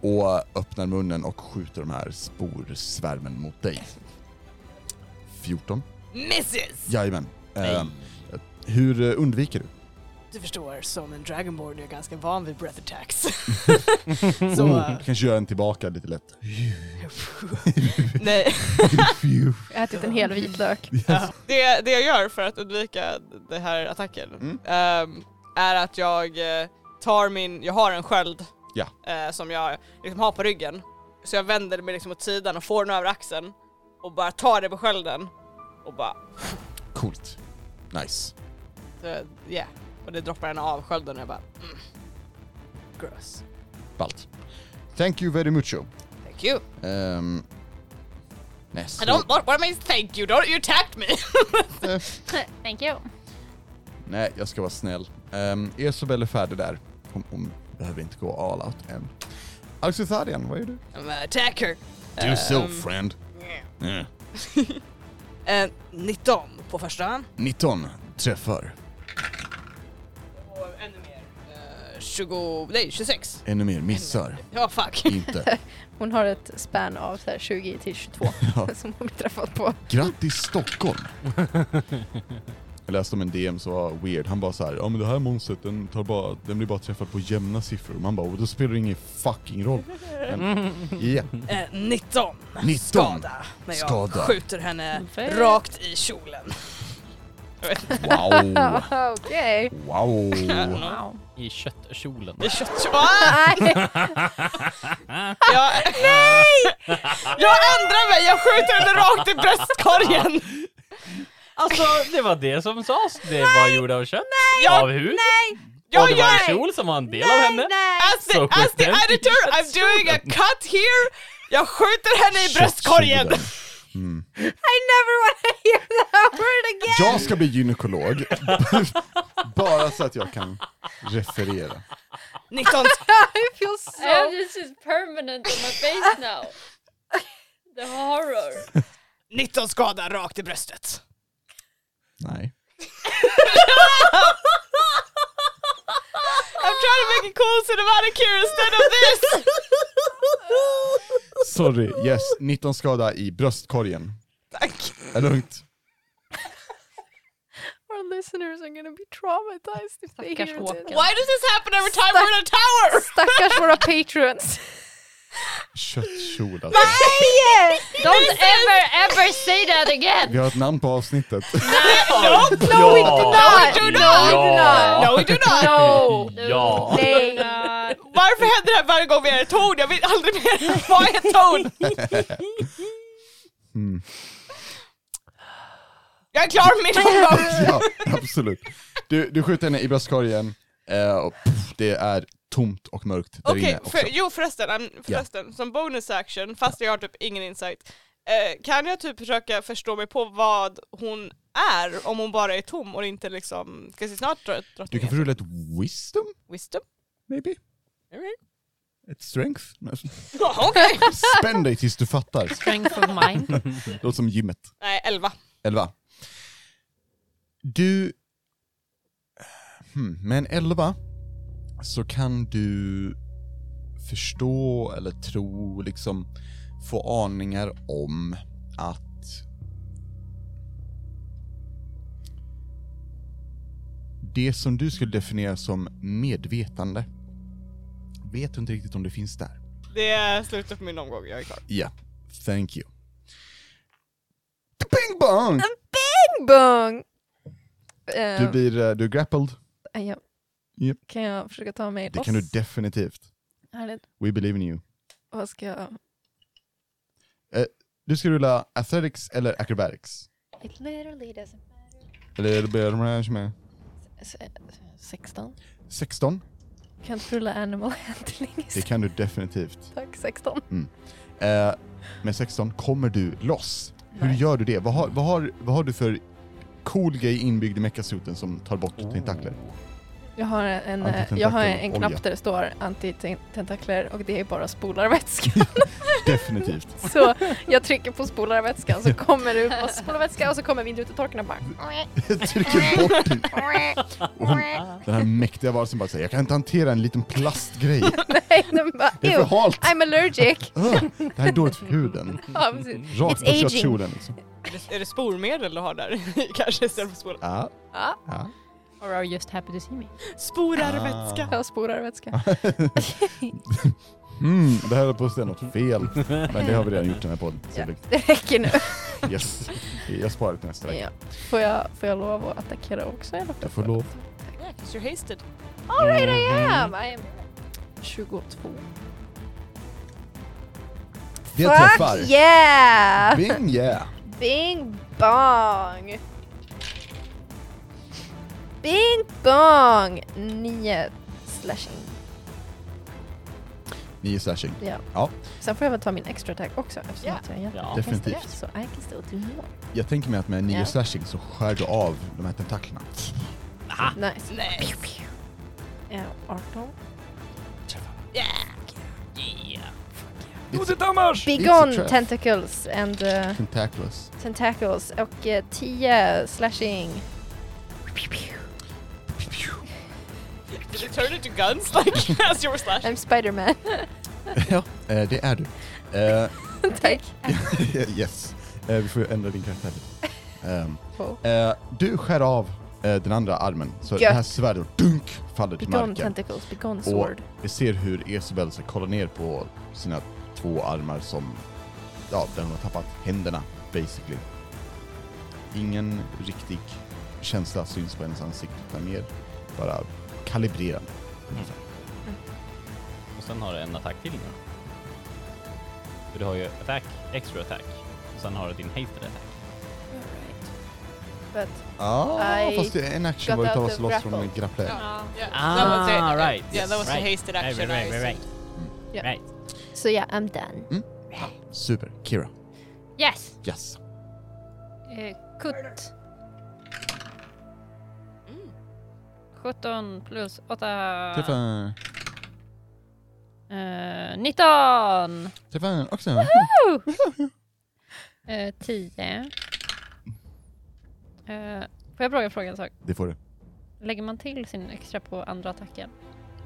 [SPEAKER 5] och öppnar munnen och skjuter de här sporsvärmen mot dig. 14.
[SPEAKER 10] Mrs!
[SPEAKER 5] Jajamän.
[SPEAKER 4] Nej.
[SPEAKER 5] Eh, hur eh, undviker du?
[SPEAKER 10] Du förstår, som en dragonborn är jag ganska van vid breath attacks. Så... eh,
[SPEAKER 5] Oh, du kanske gör en tillbaka lite lätt.
[SPEAKER 10] Nej,
[SPEAKER 5] Phew.
[SPEAKER 2] Jag har ätit en hel vitlök.
[SPEAKER 3] Det, det jag gör för att undvika den här attacken
[SPEAKER 5] Mm.
[SPEAKER 3] ehm, är att jag eh, tar min, jag har en sköld
[SPEAKER 5] Ja.
[SPEAKER 3] eh, som jag liksom har på ryggen. Så jag vänder mig liksom åt sidan och får den över axeln och bara tar det på skölden och bara,
[SPEAKER 5] Coolt. Nice.
[SPEAKER 3] eh, yeah. Och det droppar den av skölden och jag bara, mm. gross.
[SPEAKER 5] Ballt. Thank you very mucho.
[SPEAKER 3] Thank you.
[SPEAKER 5] Um, nästa.
[SPEAKER 3] I don't, what, what am I thank you? Don't you attacked me!
[SPEAKER 1] Thank you.
[SPEAKER 5] Nej, jag ska vara snäll. Um, Esobel är färdig där. Hon, hon behöver inte gå all out än. Alcitharian, vad gör du?
[SPEAKER 10] I'm an attacker.
[SPEAKER 5] Eh. Do so, friend.
[SPEAKER 3] Eh, 19 på första.
[SPEAKER 12] 19 träffar.
[SPEAKER 3] Och ännu mer. Eh, 20, nej 26.
[SPEAKER 12] Ännu mer missar.
[SPEAKER 3] Ja fuck.
[SPEAKER 12] Inte.
[SPEAKER 2] Hon har ett span av så här 20 till 22
[SPEAKER 12] Ja.
[SPEAKER 2] som hon blir träffad på.
[SPEAKER 12] Grattis Stockholm!
[SPEAKER 5] Jag läste om en DM som var weird, han bara så här, ja men det här monstret den, tar bara, den blir bara träffad på jämna siffror. Man bara, och då spelar det ingen fucking roll. Men, ja,
[SPEAKER 3] Eh, 19
[SPEAKER 12] 19
[SPEAKER 3] skada. När jag
[SPEAKER 12] skada.
[SPEAKER 3] skjuter henne
[SPEAKER 1] Fair.
[SPEAKER 3] rakt i kjolen.
[SPEAKER 12] Wow!
[SPEAKER 2] Okej.
[SPEAKER 12] Wow!
[SPEAKER 1] Wow.
[SPEAKER 4] I köttkjolen.
[SPEAKER 3] I köttkjolen. Ah!
[SPEAKER 2] Nej,
[SPEAKER 3] Jag... Nej! Jag ändrar mig, jag skjuter henne rakt i bröstkorgen.
[SPEAKER 4] Alltså, det var det som sades. Det var gjord av kött,
[SPEAKER 3] Jag...
[SPEAKER 4] av hud,
[SPEAKER 3] Nej!
[SPEAKER 4] och
[SPEAKER 3] Jag
[SPEAKER 4] det var en
[SPEAKER 3] gör...
[SPEAKER 4] kjol som var en del av henne.
[SPEAKER 3] As the,
[SPEAKER 4] Så
[SPEAKER 3] as the
[SPEAKER 4] skjuten i
[SPEAKER 3] editor, I'm doing a cut here! Jag skjuter henne i bröstkorgen!
[SPEAKER 5] Köttkjolen. Mm.
[SPEAKER 2] I never want to hear that word again!
[SPEAKER 5] Jag ska bli gynekolog, bara så att jag kan referera.
[SPEAKER 3] 19
[SPEAKER 2] I feel
[SPEAKER 1] I have
[SPEAKER 2] so...
[SPEAKER 1] this is permanent on my face now. The horror.
[SPEAKER 3] 19 skada rakt i bröstet.
[SPEAKER 5] Nej.
[SPEAKER 3] I'm trying to make it cool cinematic here instead of this!
[SPEAKER 5] Sorry, yes, 19 skada i bröstkorgen.
[SPEAKER 3] Tack.
[SPEAKER 5] Är lugnt.
[SPEAKER 2] Our listeners are gonna be traumatized if they
[SPEAKER 1] Stackars
[SPEAKER 2] hear
[SPEAKER 1] Håkan.
[SPEAKER 2] this.
[SPEAKER 3] Why does this happen every time we're in a tower?
[SPEAKER 2] Stackars våra patrons.
[SPEAKER 5] Köttkjol alltså.
[SPEAKER 2] Nej!
[SPEAKER 1] Don't ever ever say that
[SPEAKER 5] Vi
[SPEAKER 1] again!
[SPEAKER 5] har ett namn på avsnittet.
[SPEAKER 4] No,
[SPEAKER 2] No, we do not!
[SPEAKER 3] do
[SPEAKER 4] Ja.
[SPEAKER 3] No we do not!
[SPEAKER 2] No!
[SPEAKER 4] Ja.
[SPEAKER 2] Nej!
[SPEAKER 1] Uh,
[SPEAKER 3] Eh, Varför händer det här varje gång vi är ett torn? Jag vill aldrig mer vara i ett torn!
[SPEAKER 5] Mm.
[SPEAKER 3] Jag är klar med min omgång!
[SPEAKER 5] Ja, absolut. Du, du skjuter henne i bröstkorgen, eh, och pff, det är tomt och mörkt där
[SPEAKER 3] Okej,
[SPEAKER 5] inne också.
[SPEAKER 3] för, jo förresten, I'm- förresten som bonus action, fast jag har typ ingen insight, eh, kan jag typ försöka förstå mig på vad hon är om hon bara är tom och inte liksom, ska jag se snart dra-
[SPEAKER 5] Du kan
[SPEAKER 3] drottningen?
[SPEAKER 5] få rulla ett wisdom,
[SPEAKER 3] Wisdom?
[SPEAKER 5] maybe?
[SPEAKER 3] Alright.
[SPEAKER 5] Ett strength?
[SPEAKER 3] Ja, Okej!
[SPEAKER 5] Spänn dig tills du fattar.
[SPEAKER 1] strength of mine.
[SPEAKER 5] Det låter som gymmet.
[SPEAKER 3] Nej, elva.
[SPEAKER 5] Elva. Du... Hmm, med en elva så kan du förstå eller tro, liksom få aningar om att det som du skulle definiera som medvetande vet du inte riktigt om det finns där.
[SPEAKER 3] Det är slutet på min omgång, jag är klar.
[SPEAKER 5] Ja, thank you. Bing bong!
[SPEAKER 2] Bung! Eh,
[SPEAKER 5] Du blir, eh, du är grappled.
[SPEAKER 2] eh, ja.
[SPEAKER 5] Japp.
[SPEAKER 2] Kan jag försöka ta mig
[SPEAKER 5] Det
[SPEAKER 2] loss?
[SPEAKER 5] kan du definitivt.
[SPEAKER 2] Härligt.
[SPEAKER 5] We believe in you. Eh,
[SPEAKER 2] Vad ska jag...
[SPEAKER 5] Du ska rulla athletics eller acrobatics.
[SPEAKER 1] It literally doesn't matter.
[SPEAKER 5] Eller börjar de här som är-
[SPEAKER 1] S- eh, 16?
[SPEAKER 5] 16.
[SPEAKER 2] Kan inte rulla animal handling
[SPEAKER 5] Det kan du definitivt.
[SPEAKER 2] Tack, 16.
[SPEAKER 5] Eh, med 16 kommer du loss. Hur gör du det? Vad har, vad har, vad har du för cool grej inbyggd i mechasuten som tar bort tentakler?
[SPEAKER 2] Jag har en,
[SPEAKER 5] Antitentakler,
[SPEAKER 2] eh, jag har en
[SPEAKER 5] olja.
[SPEAKER 2] knapp där det står antitentakler och det är bara spolarvätska.
[SPEAKER 5] Definitivt.
[SPEAKER 2] Så jag trycker på spolarvätskan så kommer det upp och spolarvätska och så kommer vindrutetorkarna bara.
[SPEAKER 5] Jag trycker bort den. Och hon, den här mäktiga varelsen bara säger jag kan inte hantera en liten plastgrej.
[SPEAKER 2] Nej, den bara
[SPEAKER 5] Det är för
[SPEAKER 2] ew,
[SPEAKER 5] halt.
[SPEAKER 2] I'm allergic.
[SPEAKER 5] Ugh, det här är dåligt för huden.
[SPEAKER 2] Ja, precis.
[SPEAKER 5] Rakt
[SPEAKER 2] It's
[SPEAKER 5] på
[SPEAKER 2] aging.
[SPEAKER 5] köttkjolen liksom.
[SPEAKER 3] Är det, är det spormedel du har där? Kanske istället för spor.
[SPEAKER 5] Ja,
[SPEAKER 2] Ja,
[SPEAKER 5] ja.
[SPEAKER 1] Or are you just happy to see me?
[SPEAKER 4] Ah.
[SPEAKER 3] Sporarvätska.
[SPEAKER 2] jag har spolarvätska.
[SPEAKER 5] Mm, det här är på att säga något fel. Men det har vi redan gjort i den här podden. Så det,
[SPEAKER 2] Det räcker nu.
[SPEAKER 5] yes. Jag sparar det till nästa vecka.
[SPEAKER 2] Ja. Får, jag, får jag lov att attackera också eller?
[SPEAKER 5] Jag får lov.
[SPEAKER 3] Yeah, 'cause you're hasted.
[SPEAKER 2] Alright I am! I am 22.
[SPEAKER 12] Det
[SPEAKER 2] Fuck
[SPEAKER 12] träffar.
[SPEAKER 2] yeah!
[SPEAKER 12] Bing yeah!
[SPEAKER 2] Bing bong! Bing bong! Nio slashing.
[SPEAKER 5] Nio slashing.
[SPEAKER 2] Ja.
[SPEAKER 5] Ja.
[SPEAKER 2] Sen får jag väl ta min extra attack också eftersom
[SPEAKER 3] Ja.
[SPEAKER 2] att jag är hjälte.
[SPEAKER 4] Ja.
[SPEAKER 5] Definitivt.
[SPEAKER 2] Så I can still do more.
[SPEAKER 5] Jag tänker mig att med nio
[SPEAKER 2] Ja.
[SPEAKER 5] slashing så skär du av de här tentaklerna.
[SPEAKER 2] Nice.
[SPEAKER 3] Nej.
[SPEAKER 2] Ja, 18.
[SPEAKER 3] Yeah.
[SPEAKER 4] Yeah.
[SPEAKER 5] It's
[SPEAKER 2] Be
[SPEAKER 5] It's
[SPEAKER 2] gone
[SPEAKER 5] a trap.
[SPEAKER 2] tentacles and uh,
[SPEAKER 5] tentaclous.
[SPEAKER 2] tentacles och eh, 10 slashing.
[SPEAKER 3] Did it turn into guns like as you were slashing?
[SPEAKER 2] I'm Spiderman.
[SPEAKER 5] ja, eh, det är du. Eh,
[SPEAKER 2] Tack.
[SPEAKER 5] yes. Eh, vi får ändra din karaktär lite. Ehm,
[SPEAKER 2] Oh.
[SPEAKER 5] eh, du skär av eh, den andra armen, så det här svärdet dunk faller
[SPEAKER 2] Be
[SPEAKER 5] till
[SPEAKER 2] gone
[SPEAKER 5] marken.
[SPEAKER 2] tentacles, be gone
[SPEAKER 5] Och
[SPEAKER 2] sword.
[SPEAKER 5] vi ser hur Esabel ska kolla ner på sina två armar som, ja, där hon har tappat händerna basically. Ingen riktig känsla syns på hennes ansikte, utan mer bara kalibrerad. ungefär.
[SPEAKER 4] Och sen har du en attack till nu. För du har ju attack, extra attack. Och sen har du din hasted attack.
[SPEAKER 2] But
[SPEAKER 5] Ja,
[SPEAKER 2] I
[SPEAKER 5] Ah, fast det är en action
[SPEAKER 2] got
[SPEAKER 5] var ju att ta
[SPEAKER 2] out
[SPEAKER 5] oss
[SPEAKER 2] of
[SPEAKER 5] loss från en
[SPEAKER 2] grapple.
[SPEAKER 5] grapple.
[SPEAKER 3] Yeah.
[SPEAKER 4] Ah,
[SPEAKER 3] that was it. Yeah,
[SPEAKER 4] right.
[SPEAKER 3] Yeah, that
[SPEAKER 4] Yes,
[SPEAKER 3] was
[SPEAKER 4] right.
[SPEAKER 3] a hasted
[SPEAKER 4] Right,
[SPEAKER 3] action.
[SPEAKER 4] right,
[SPEAKER 3] I
[SPEAKER 4] right, right.
[SPEAKER 3] assumed.
[SPEAKER 2] Yeah.
[SPEAKER 4] Right.
[SPEAKER 2] so yeah, I'm done.
[SPEAKER 5] Mm. Super. Kira.
[SPEAKER 1] Yes!
[SPEAKER 5] Yes.
[SPEAKER 1] Eh, kutt. 17 plus 8.
[SPEAKER 5] Träffar.
[SPEAKER 1] Eh, 19!
[SPEAKER 5] Träffar också.
[SPEAKER 1] Eh, 10. Eh, får jag fråga, fråga en sak?
[SPEAKER 5] Det får du.
[SPEAKER 1] Lägger man till sin extra på andra attacken?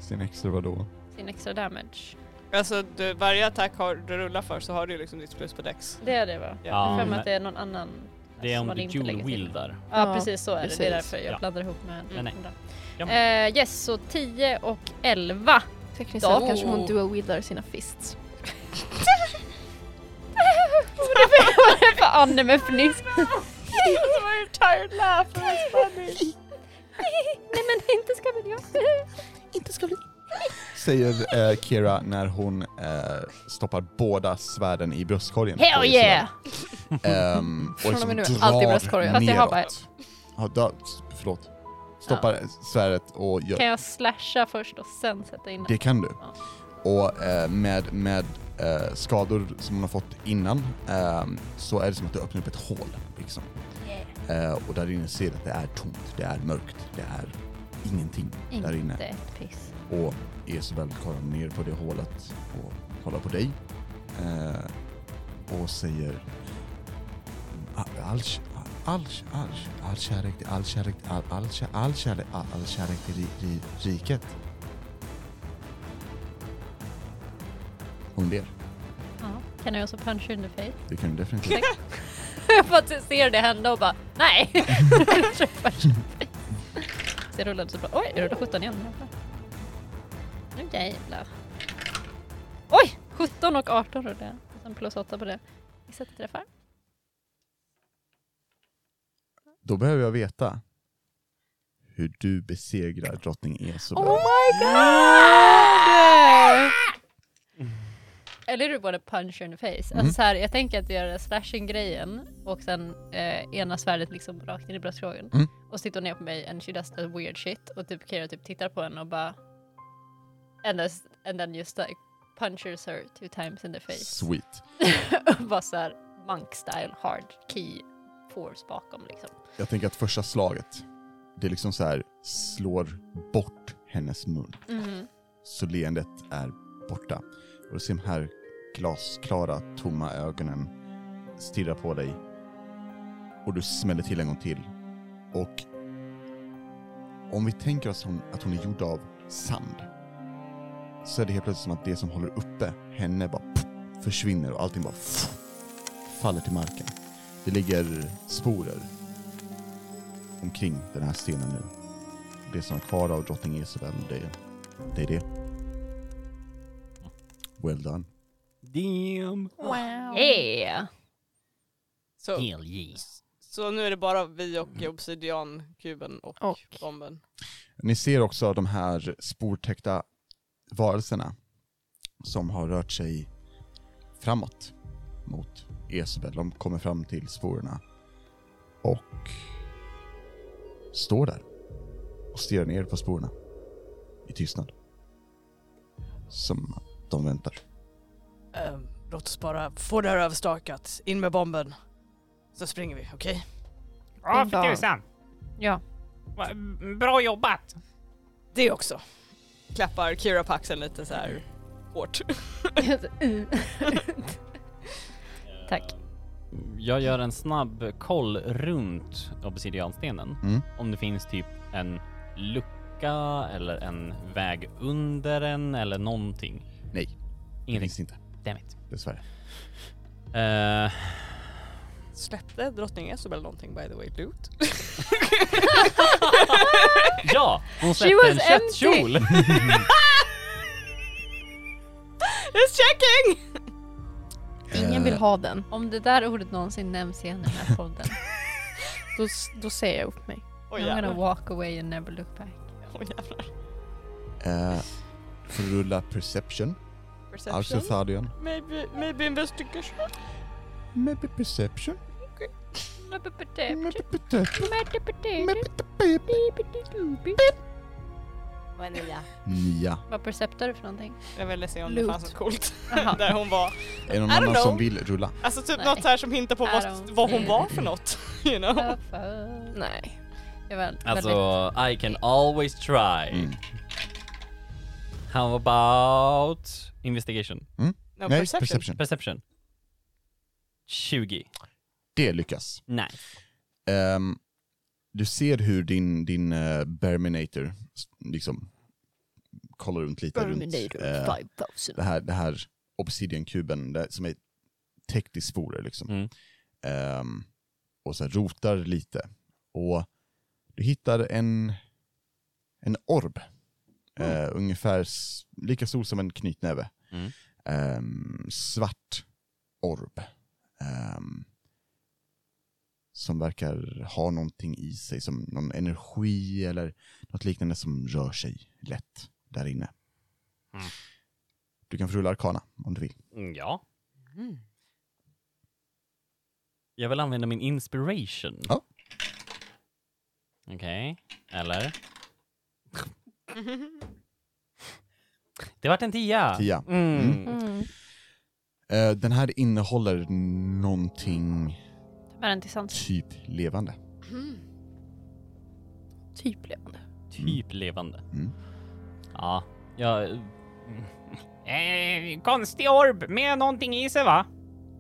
[SPEAKER 5] Sin extra vadå?
[SPEAKER 1] Sin extra damage?
[SPEAKER 3] Alltså du, varje attack har, du rullar för så har du ju liksom ditt plus på dex.
[SPEAKER 1] Det är det va?
[SPEAKER 3] Ja.
[SPEAKER 1] Jag har för mig
[SPEAKER 4] men
[SPEAKER 1] att det är någon annan.
[SPEAKER 4] Um, det är
[SPEAKER 1] som
[SPEAKER 4] om
[SPEAKER 1] man
[SPEAKER 4] du
[SPEAKER 1] inte lägger
[SPEAKER 4] dual
[SPEAKER 1] till.
[SPEAKER 4] wieldar.
[SPEAKER 1] Ja,
[SPEAKER 2] Ja,
[SPEAKER 1] precis så är det. Det är
[SPEAKER 2] precis.
[SPEAKER 1] därför jag
[SPEAKER 4] Ja.
[SPEAKER 1] blandar ihop med den
[SPEAKER 4] Nej, nej.
[SPEAKER 1] andra.
[SPEAKER 4] Ja,
[SPEAKER 1] Eh, yes, så 10 och 11.
[SPEAKER 2] Tekniskt
[SPEAKER 1] Då.
[SPEAKER 2] sett kanske hon dual wieldar sina fists.
[SPEAKER 1] Vad är det för- vad är det för anime-fniss?
[SPEAKER 3] Very tired laugh, that was funny.
[SPEAKER 1] Nej men inte ska väl jag?
[SPEAKER 5] Inte ska bli. Säger eh, Kira när hon eh, stoppar båda svärden i bröstkorgen. på
[SPEAKER 1] Hell
[SPEAKER 5] Isabel.
[SPEAKER 1] yeah!
[SPEAKER 5] Ehm, och
[SPEAKER 2] Från och
[SPEAKER 5] liksom
[SPEAKER 2] med nu,
[SPEAKER 5] drar
[SPEAKER 2] alltid bröstkorgen.
[SPEAKER 1] Fast jag har
[SPEAKER 5] neråt.
[SPEAKER 1] bara
[SPEAKER 5] Ja, då, förlåt. Stoppar svärdet och gör...
[SPEAKER 1] Kan jag slasha först och sen sätta in
[SPEAKER 5] Det kan du.
[SPEAKER 1] Ja.
[SPEAKER 5] Och eh, med, med eh, skador som hon har fått innan ehm, så är det som att du öppnar upp ett hål. Liksom. Eh, och där inne ser du att det är tomt, det är mörkt, det är ingenting där inne.
[SPEAKER 1] Inte ett piss.
[SPEAKER 5] Och Isabel kollar ner på det hålet och kollar på dig. Eh, och säger... "A- All, k- all, k- all, k- all kärlek, all kärlek, all, all, kär- all kärlek, all, all kärlek till ri, ri, riket. Hon ler.
[SPEAKER 1] Ja. Kan jag också punch in the face?
[SPEAKER 5] Det kan du definitivt.
[SPEAKER 1] För att jag ser det hända och bara nej! Träffar sig. Så jag rullade så bra. Oj, jag rullade 17 igen. Jävlar. Nu jävlar. Oj! 17 och 18 rullade jag. Och Sen plus 8 på det. Gissa att jag träffar.
[SPEAKER 5] Då behöver jag veta hur du besegrar drottning Esobel.
[SPEAKER 1] my god! Eller är du både punch in the face? Alltså så här, jag tänker att vi gör slashing-grejen och sen eh, ena svärdet liksom rakt in i bröstkorgen.
[SPEAKER 5] Mm.
[SPEAKER 1] Och så tittar hon ner på mig and she does the weird shit och typ Kira typ tittar på henne och bara and, this, and then just like punches her two times in the face.
[SPEAKER 5] Sweet.
[SPEAKER 1] och bara så här monk style hard key force bakom liksom.
[SPEAKER 5] Jag tänker att första slaget, det är liksom så här slår bort hennes mun. Så leendet är borta. Och du ser de här glasklara, tomma ögonen stirra på dig. Och du smäller till en gång till. Och om vi tänker oss hon, att hon är gjord av sand, så är det helt plötsligt som att det som håller uppe henne bara pff, försvinner och allting bara pff, faller till marken. Det ligger sporer omkring den här stenen nu. Det som är kvar av drottning Isabel, det, det är det. Well done.
[SPEAKER 4] Damn.
[SPEAKER 2] Wow.
[SPEAKER 1] Yeah!
[SPEAKER 3] Så,
[SPEAKER 4] Hell yeah.
[SPEAKER 3] så nu är det bara vi och obsidiankuben och,
[SPEAKER 2] Och.
[SPEAKER 3] bomben.
[SPEAKER 5] Ni ser också de här sportäckta varelserna som har rört sig framåt mot Esbel. De kommer fram till sporerna och står där och stirrar ner på sporerna i tystnad. Som att de väntar.
[SPEAKER 3] Ehm, låt oss bara få det här överstakat. In med bomben. Så springer vi, okej?
[SPEAKER 7] Ja,
[SPEAKER 2] Det
[SPEAKER 7] för
[SPEAKER 2] var-
[SPEAKER 7] tusan.
[SPEAKER 1] Ja.
[SPEAKER 7] Va- Bra jobbat.
[SPEAKER 4] Mm.
[SPEAKER 3] Det också. Klappar Kira på axeln lite så här. hårt.
[SPEAKER 1] Tack.
[SPEAKER 4] Eh, Jag gör en snabb koll runt obsidianstenen.
[SPEAKER 5] Mm.
[SPEAKER 4] Om det finns typ en lucka eller en väg under den eller någonting.
[SPEAKER 5] Nej, det
[SPEAKER 4] Ingenting.
[SPEAKER 5] finns inte.
[SPEAKER 4] Damn it.
[SPEAKER 5] Dessvärre.
[SPEAKER 4] Eh,
[SPEAKER 3] Släppte drottning Esobel någonting by the way, loot?
[SPEAKER 4] ja! Hon
[SPEAKER 1] She
[SPEAKER 4] släppte
[SPEAKER 1] was
[SPEAKER 4] en köttkjol!
[SPEAKER 3] Just checking!
[SPEAKER 5] Eh.
[SPEAKER 2] Ingen vill ha den.
[SPEAKER 1] Om det där ordet någonsin nämns igen i den här podden,
[SPEAKER 2] Då, s- då säger jag upp mig.
[SPEAKER 3] Oj
[SPEAKER 1] I'm gonna
[SPEAKER 3] jävlar.
[SPEAKER 1] walk away and never look back.
[SPEAKER 3] Oj jävlar.
[SPEAKER 5] Eh, får du rulla perception. alltså
[SPEAKER 3] Perception?
[SPEAKER 5] Arsuthadion.
[SPEAKER 3] Maybe, maybe investigation?
[SPEAKER 5] Maybe perception. Maybe perception. Maybe
[SPEAKER 3] Vanilla.
[SPEAKER 5] Nia.
[SPEAKER 1] Vad perceptar du för någonting?
[SPEAKER 3] Jag ville se om det
[SPEAKER 2] Loot.
[SPEAKER 3] fanns något coolt
[SPEAKER 1] Jaha.
[SPEAKER 3] där hon var.
[SPEAKER 5] Är det någon
[SPEAKER 3] I don't
[SPEAKER 5] annan som
[SPEAKER 3] know.
[SPEAKER 5] vill rulla?
[SPEAKER 3] Alltså typ
[SPEAKER 1] Nej.
[SPEAKER 3] något här som hintar på
[SPEAKER 1] I
[SPEAKER 3] vad,
[SPEAKER 1] don't
[SPEAKER 3] vad hon
[SPEAKER 1] care.
[SPEAKER 3] var för något. You know?
[SPEAKER 1] Oh, fuck.
[SPEAKER 2] Nej.
[SPEAKER 1] Jag var väldigt...
[SPEAKER 4] Alltså, I can always try.
[SPEAKER 5] Mm.
[SPEAKER 4] How about investigation?
[SPEAKER 3] No,
[SPEAKER 5] Nej,
[SPEAKER 3] perception.
[SPEAKER 5] perception.
[SPEAKER 4] Perception? 20.
[SPEAKER 5] Det lyckas.
[SPEAKER 4] Nej.
[SPEAKER 5] Ehm, du ser hur din, din uh, Berminator s- liksom kollar runt lite runt eh,
[SPEAKER 1] 5000.
[SPEAKER 5] det här, det här obsidiankuben det, som är täckt i sporer liksom.
[SPEAKER 4] Mm.
[SPEAKER 5] Ehm, och sen rotar lite. Och du hittar en, en orb. Eh, ungefär s- lika stor som en knytnäve.
[SPEAKER 4] Mm.
[SPEAKER 5] Ehm, svart orb. Ehm, som verkar ha någonting i sig, som någon energi eller något liknande som rör sig lätt där inne.
[SPEAKER 4] Mm.
[SPEAKER 5] Du kan få rulla arkana om du vill.
[SPEAKER 4] Mm, Ja. Mm. Jag vill använda min inspiration.
[SPEAKER 5] Ja.
[SPEAKER 4] Okej, eller? Det vart en tia.
[SPEAKER 5] Tia.
[SPEAKER 4] Mm.
[SPEAKER 2] Mm.
[SPEAKER 5] Eh, Den här innehåller någonting
[SPEAKER 1] Ta med den till sans.
[SPEAKER 5] typ levande.
[SPEAKER 2] Typ levande.
[SPEAKER 4] Typ levande.
[SPEAKER 5] Mm.
[SPEAKER 4] Ja, jag...
[SPEAKER 7] Eh, konstig orb med någonting i sig va?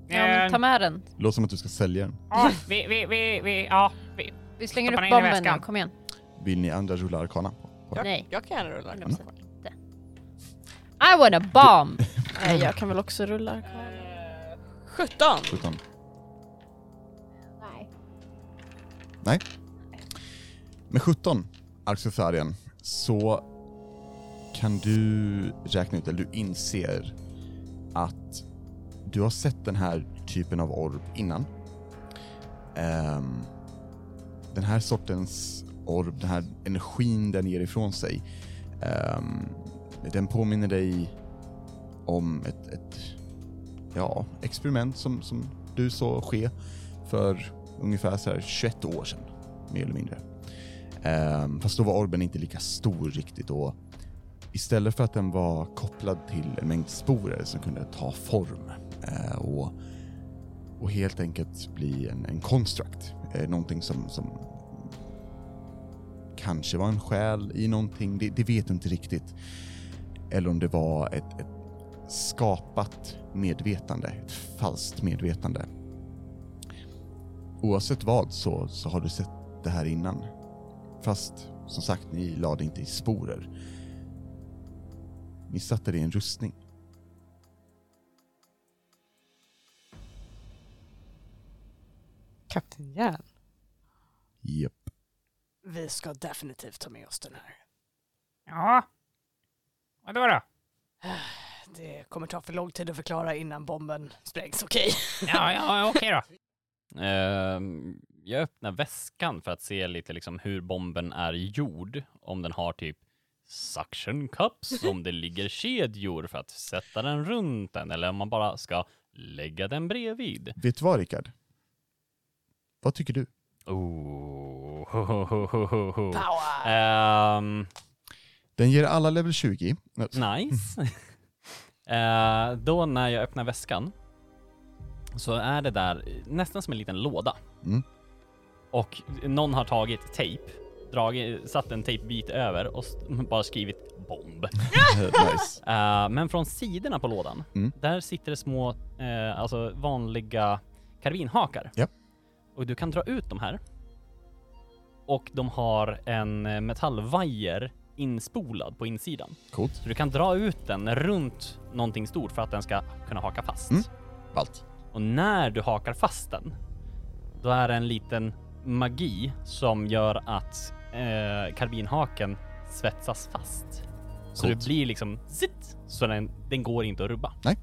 [SPEAKER 1] Ja,
[SPEAKER 7] Eh.
[SPEAKER 1] men ta med den.
[SPEAKER 5] Låter som att du ska sälja den.
[SPEAKER 7] ja, vi, vi, vi, vi, ja, vi.
[SPEAKER 1] Vi slänger
[SPEAKER 7] Stoppa
[SPEAKER 1] upp
[SPEAKER 7] den in i
[SPEAKER 1] bomben nu,
[SPEAKER 7] väskan.
[SPEAKER 1] kom igen.
[SPEAKER 5] Vill ni andra rulla arkana?
[SPEAKER 1] Nej,
[SPEAKER 3] Jag kan gärna rulla.
[SPEAKER 7] Mm.
[SPEAKER 5] Mm.
[SPEAKER 1] 100% inte. I want a bomb!
[SPEAKER 2] Nej, jag kan väl också rulla.
[SPEAKER 3] 17!
[SPEAKER 5] Utan,
[SPEAKER 1] Nej.
[SPEAKER 5] med 17 Arxotharian så kan du räkna ut, eller du inser att du har sett den här typen av orb innan. Ehm, den här sortens orb, den här energin den ger ifrån sig, ehm, den påminner dig om ett, ett ja, experiment som, som du såg ske för ungefär så här 21 år sedan, mer eller mindre. Ehm, fast då var orben inte lika stor riktigt och istället för att den var kopplad till en mängd sporer som kunde ta form eh, och, och helt enkelt bli en, en construct, eh, någonting som, som kanske var en själ i någonting, det, det vet du inte riktigt. Eller om det var ett, ett skapat medvetande, ett falskt medvetande. Oavsett vad så, så har du sett det här innan. Fast som sagt, ni lade inte i sporer. Ni satte det i en rustning.
[SPEAKER 3] Kapten Järn.
[SPEAKER 5] Japp.
[SPEAKER 3] Vi ska definitivt ta med oss den här.
[SPEAKER 7] Ja. Vadå då?
[SPEAKER 3] Det kommer ta för lång tid att förklara innan bomben sprängs, okej?
[SPEAKER 7] Ja, ja, okej då.
[SPEAKER 4] Ehm, jag öppnar väskan för att se lite liksom hur bomben är gjord. Om den har typ suction cups, om det ligger kedjor för att sätta den runt den eller om man bara ska lägga den bredvid.
[SPEAKER 5] Vet du vad Rickard? Vad tycker du?
[SPEAKER 4] Oh. ho, ho, ho, ho, ho, ho.
[SPEAKER 3] Power!
[SPEAKER 4] Ehm,
[SPEAKER 5] Den ger alla level 20. Nej,
[SPEAKER 4] nice. Eh, då när jag öppnar väskan så är det där eh, nästan som en liten låda.
[SPEAKER 5] Mm.
[SPEAKER 4] Och någon har tagit tejp, dragit, satt en tejpbit över och s- bara skrivit bomb.
[SPEAKER 5] nice.
[SPEAKER 4] Eh, men från sidorna på lådan,
[SPEAKER 5] Mm.
[SPEAKER 4] där sitter det små, eh, alltså vanliga karbinhakar.
[SPEAKER 5] Ja.
[SPEAKER 4] Och du kan dra ut de här. Och de har en eh, metallvajer inspolad på insidan.
[SPEAKER 5] Coolt.
[SPEAKER 4] Så du kan dra ut den runt någonting stort för att den ska kunna haka fast.
[SPEAKER 5] Mm. Ballt.
[SPEAKER 4] Och när du hakar fast den, då är det en liten magi som gör att eh, karbinhaken svetsas fast. Så
[SPEAKER 5] Coolt.
[SPEAKER 4] det blir liksom sitt, så den, den går inte att rubba.
[SPEAKER 5] Nej.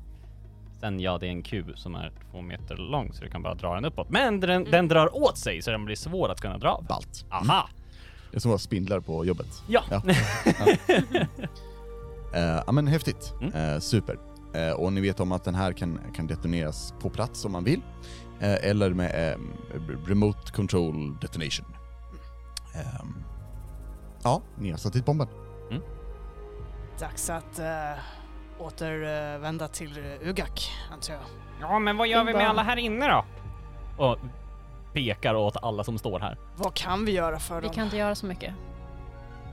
[SPEAKER 4] Sen ja, det är en kub som är två meter lång så du kan bara dra den uppåt. Men den, den drar åt sig så den blir svår att kunna dra av.
[SPEAKER 5] Ballt.
[SPEAKER 4] Aha!
[SPEAKER 5] Det är som att ha spindlar på jobbet.
[SPEAKER 4] Ja.
[SPEAKER 5] Ja. Eh, Ja men häftigt. Eh, super. Eh, och ni vet om att den här kan, kan detoneras på plats om man vill. Eh, eller med ehm, remote control detonation. Ehm, ja, ni har satt dit bomben.
[SPEAKER 3] Dags att eh, återvända till eh, Ugak, antar jag.
[SPEAKER 7] Ja, men vad gör vi med alla här inne då?
[SPEAKER 4] Och pekar åt alla som står här.
[SPEAKER 3] Vad kan vi göra för
[SPEAKER 1] Vi
[SPEAKER 3] dem?
[SPEAKER 1] kan inte göra så mycket.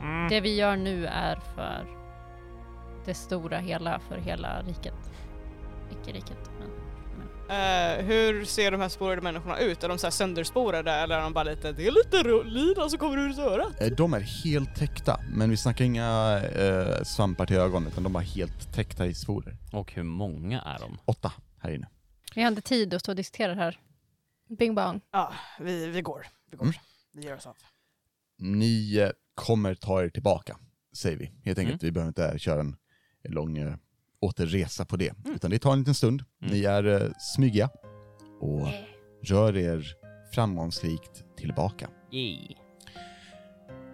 [SPEAKER 7] Mm.
[SPEAKER 1] Det vi gör nu är för det stora hela, för hela riket. Icke riket, men...
[SPEAKER 3] Eh, hur ser de här spårade människorna ut? Är de så här sönderspårade eller är de bara lite, det är lite ro- lina som kommer ur örat?
[SPEAKER 5] Eh, de är helt täckta, men vi snackar inga eh, svampar till ögon utan de var helt täckta i sporer.
[SPEAKER 4] Och hur många är de?
[SPEAKER 5] Åtta här inne.
[SPEAKER 1] Vi har inte tid att stå och diskutera det här.
[SPEAKER 2] Bing bang.
[SPEAKER 3] Ja, vi, vi går. Vi går.
[SPEAKER 5] Mm.
[SPEAKER 3] Vi gör oss av.
[SPEAKER 5] Ni eh, kommer ta er tillbaka, säger vi. Helt enkelt,
[SPEAKER 4] Mm.
[SPEAKER 5] vi behöver inte köra en lång eh, återresa på det. Utan det tar en liten stund.
[SPEAKER 4] Mm.
[SPEAKER 5] Ni är eh, smyga och rör er framgångsrikt tillbaka.
[SPEAKER 4] Yay.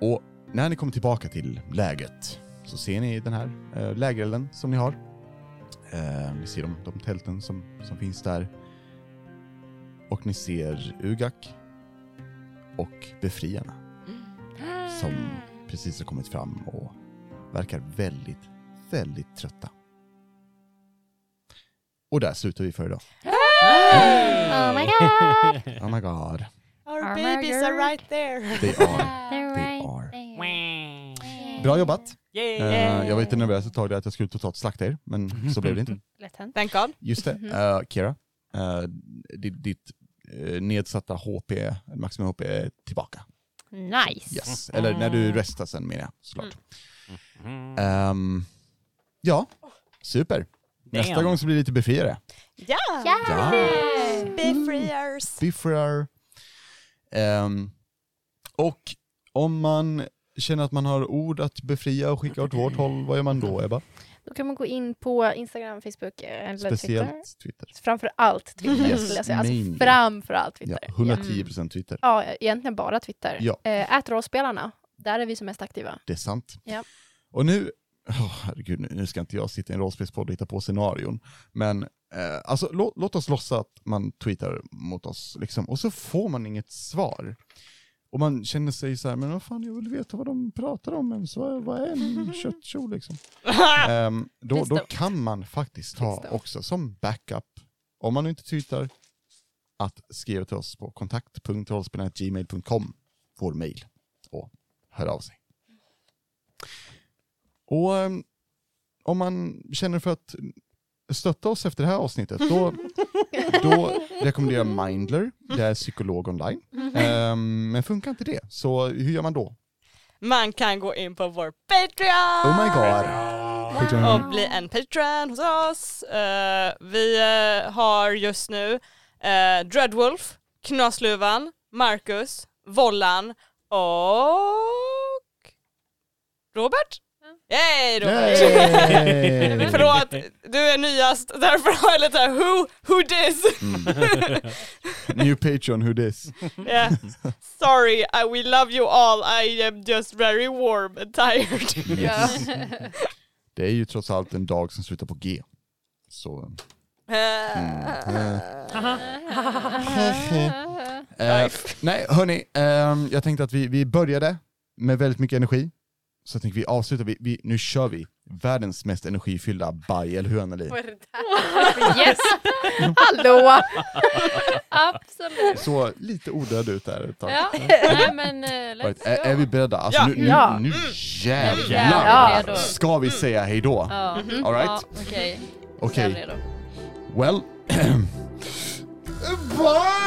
[SPEAKER 5] Och när ni kommer tillbaka till lägret så ser ni den här eh, lägerelden som ni har. Eh, ni ser de, de tälten som, som finns där. Och ni ser Ugak och befriarna som precis har kommit fram och verkar väldigt, väldigt trötta. Och där slutar vi för idag.
[SPEAKER 1] Oh my god!
[SPEAKER 5] Oh my god,
[SPEAKER 3] Our,
[SPEAKER 1] Our
[SPEAKER 3] babies
[SPEAKER 1] murder.
[SPEAKER 3] are right there!
[SPEAKER 5] they are,
[SPEAKER 1] They're
[SPEAKER 5] they
[SPEAKER 1] right
[SPEAKER 5] are.
[SPEAKER 1] there.
[SPEAKER 5] Bra jobbat!
[SPEAKER 4] Yay!
[SPEAKER 5] Eh, jag var lite nervös ett tag där att jag skulle totalt slakta er, men så blev det inte.
[SPEAKER 1] Lätt hänt.
[SPEAKER 3] Thank God.
[SPEAKER 5] Just det,
[SPEAKER 2] Mhm.
[SPEAKER 5] Eh, Kira. eh, ditt ditt eh, nedsatta HP, maximum HP, är tillbaka.
[SPEAKER 1] Nice!
[SPEAKER 5] Yes. Eller när du restar sen menar jag såklart.
[SPEAKER 4] Mm.
[SPEAKER 5] Ehm, ja, super. Nästa
[SPEAKER 4] Damn.
[SPEAKER 5] gång så blir det lite befriare.
[SPEAKER 3] Ja!
[SPEAKER 5] Ja.
[SPEAKER 3] Befriars!
[SPEAKER 5] Befriar. Ehm, och om man känner att man har ord att befria och skicka åt vårt håll, vad gör man då Ebba?
[SPEAKER 2] Då kan man gå in på Instagram, Facebook eh, eller Twitter.
[SPEAKER 5] Speciellt Twitter.
[SPEAKER 2] Framför allt Twitter
[SPEAKER 5] Yes,
[SPEAKER 2] skulle jag säga. Alltså
[SPEAKER 5] mainly.
[SPEAKER 2] framför allt
[SPEAKER 5] Ja,
[SPEAKER 2] Twitter.
[SPEAKER 5] 110% Twitter.
[SPEAKER 2] Ja, egentligen bara Twitter.
[SPEAKER 5] Ja.
[SPEAKER 2] Eh, ät rollspelarna. Där är vi som mest aktiva.
[SPEAKER 5] Det är sant.
[SPEAKER 2] Ja.
[SPEAKER 5] Och nu, åh, herregud, nu- nu ska inte jag sitta i en rollspelspodd och hitta på scenarion, men eh, alltså, lå, låt oss låtsas att man tweetar mot oss, liksom, och så får man inget svar. Och man känner sig så här, men vad fan, jag vill veta vad de pratar om ens, vad, vad är en köttkjol liksom? Ehm, då, då
[SPEAKER 2] Visst.
[SPEAKER 5] kan man faktiskt ta
[SPEAKER 2] Visst.
[SPEAKER 5] också som backup, om man nu inte tweetar, att skriva till oss på kontakt.rollspelarna.gmail.com, vår mail, och höra av sig. Och ehm, om man känner för att stötta oss efter det här avsnittet, då, då rekommenderar jag Mindler, det är psykolog online. Ehm, men funkar inte det, så hur gör man då?
[SPEAKER 3] Man kan gå in på vår Patreon!
[SPEAKER 5] Oh my god. Mm.
[SPEAKER 3] och bli en patron hos oss. Eh, vi eh, har just nu eh, Dreadwolf, Knasluvan, Marcus, Vollan och Robert. Yay Robert!
[SPEAKER 5] Yay!
[SPEAKER 3] Förlåt, du är nyast, därför har jag lite who, who dis?
[SPEAKER 5] Mm. New Patreon, who this?
[SPEAKER 3] Yeah. Sorry, I, we love you all, I am just very warm and tired.
[SPEAKER 5] Yes. Det är ju trots allt en dag som slutar på G. Så... Mm. Eh, nej, hörni, ehm, jag tänkte att vi, vi började med väldigt mycket energi. Så jag tänkte vi avslutar, vi, vi, nu kör vi världens mest energifyllda baj eller hur Anneli?
[SPEAKER 2] Vad är det där? Yes! Hallå!
[SPEAKER 1] Absolut.
[SPEAKER 5] Så lite odöd ut där ett tag.
[SPEAKER 1] Ja, nej men eh,
[SPEAKER 5] Right.
[SPEAKER 1] let's
[SPEAKER 5] Är, är
[SPEAKER 1] go.
[SPEAKER 5] vi beredda? Alltså
[SPEAKER 3] Ja.
[SPEAKER 5] nu, nu,
[SPEAKER 2] Ja.
[SPEAKER 5] nu
[SPEAKER 1] Ja.
[SPEAKER 5] jävlar
[SPEAKER 1] Redo.
[SPEAKER 5] ska vi säga hejdå.
[SPEAKER 1] Ja.
[SPEAKER 5] All
[SPEAKER 1] Ja,
[SPEAKER 5] right?
[SPEAKER 1] Okej,
[SPEAKER 5] Okej,
[SPEAKER 1] jag är redo.
[SPEAKER 5] well... Bye!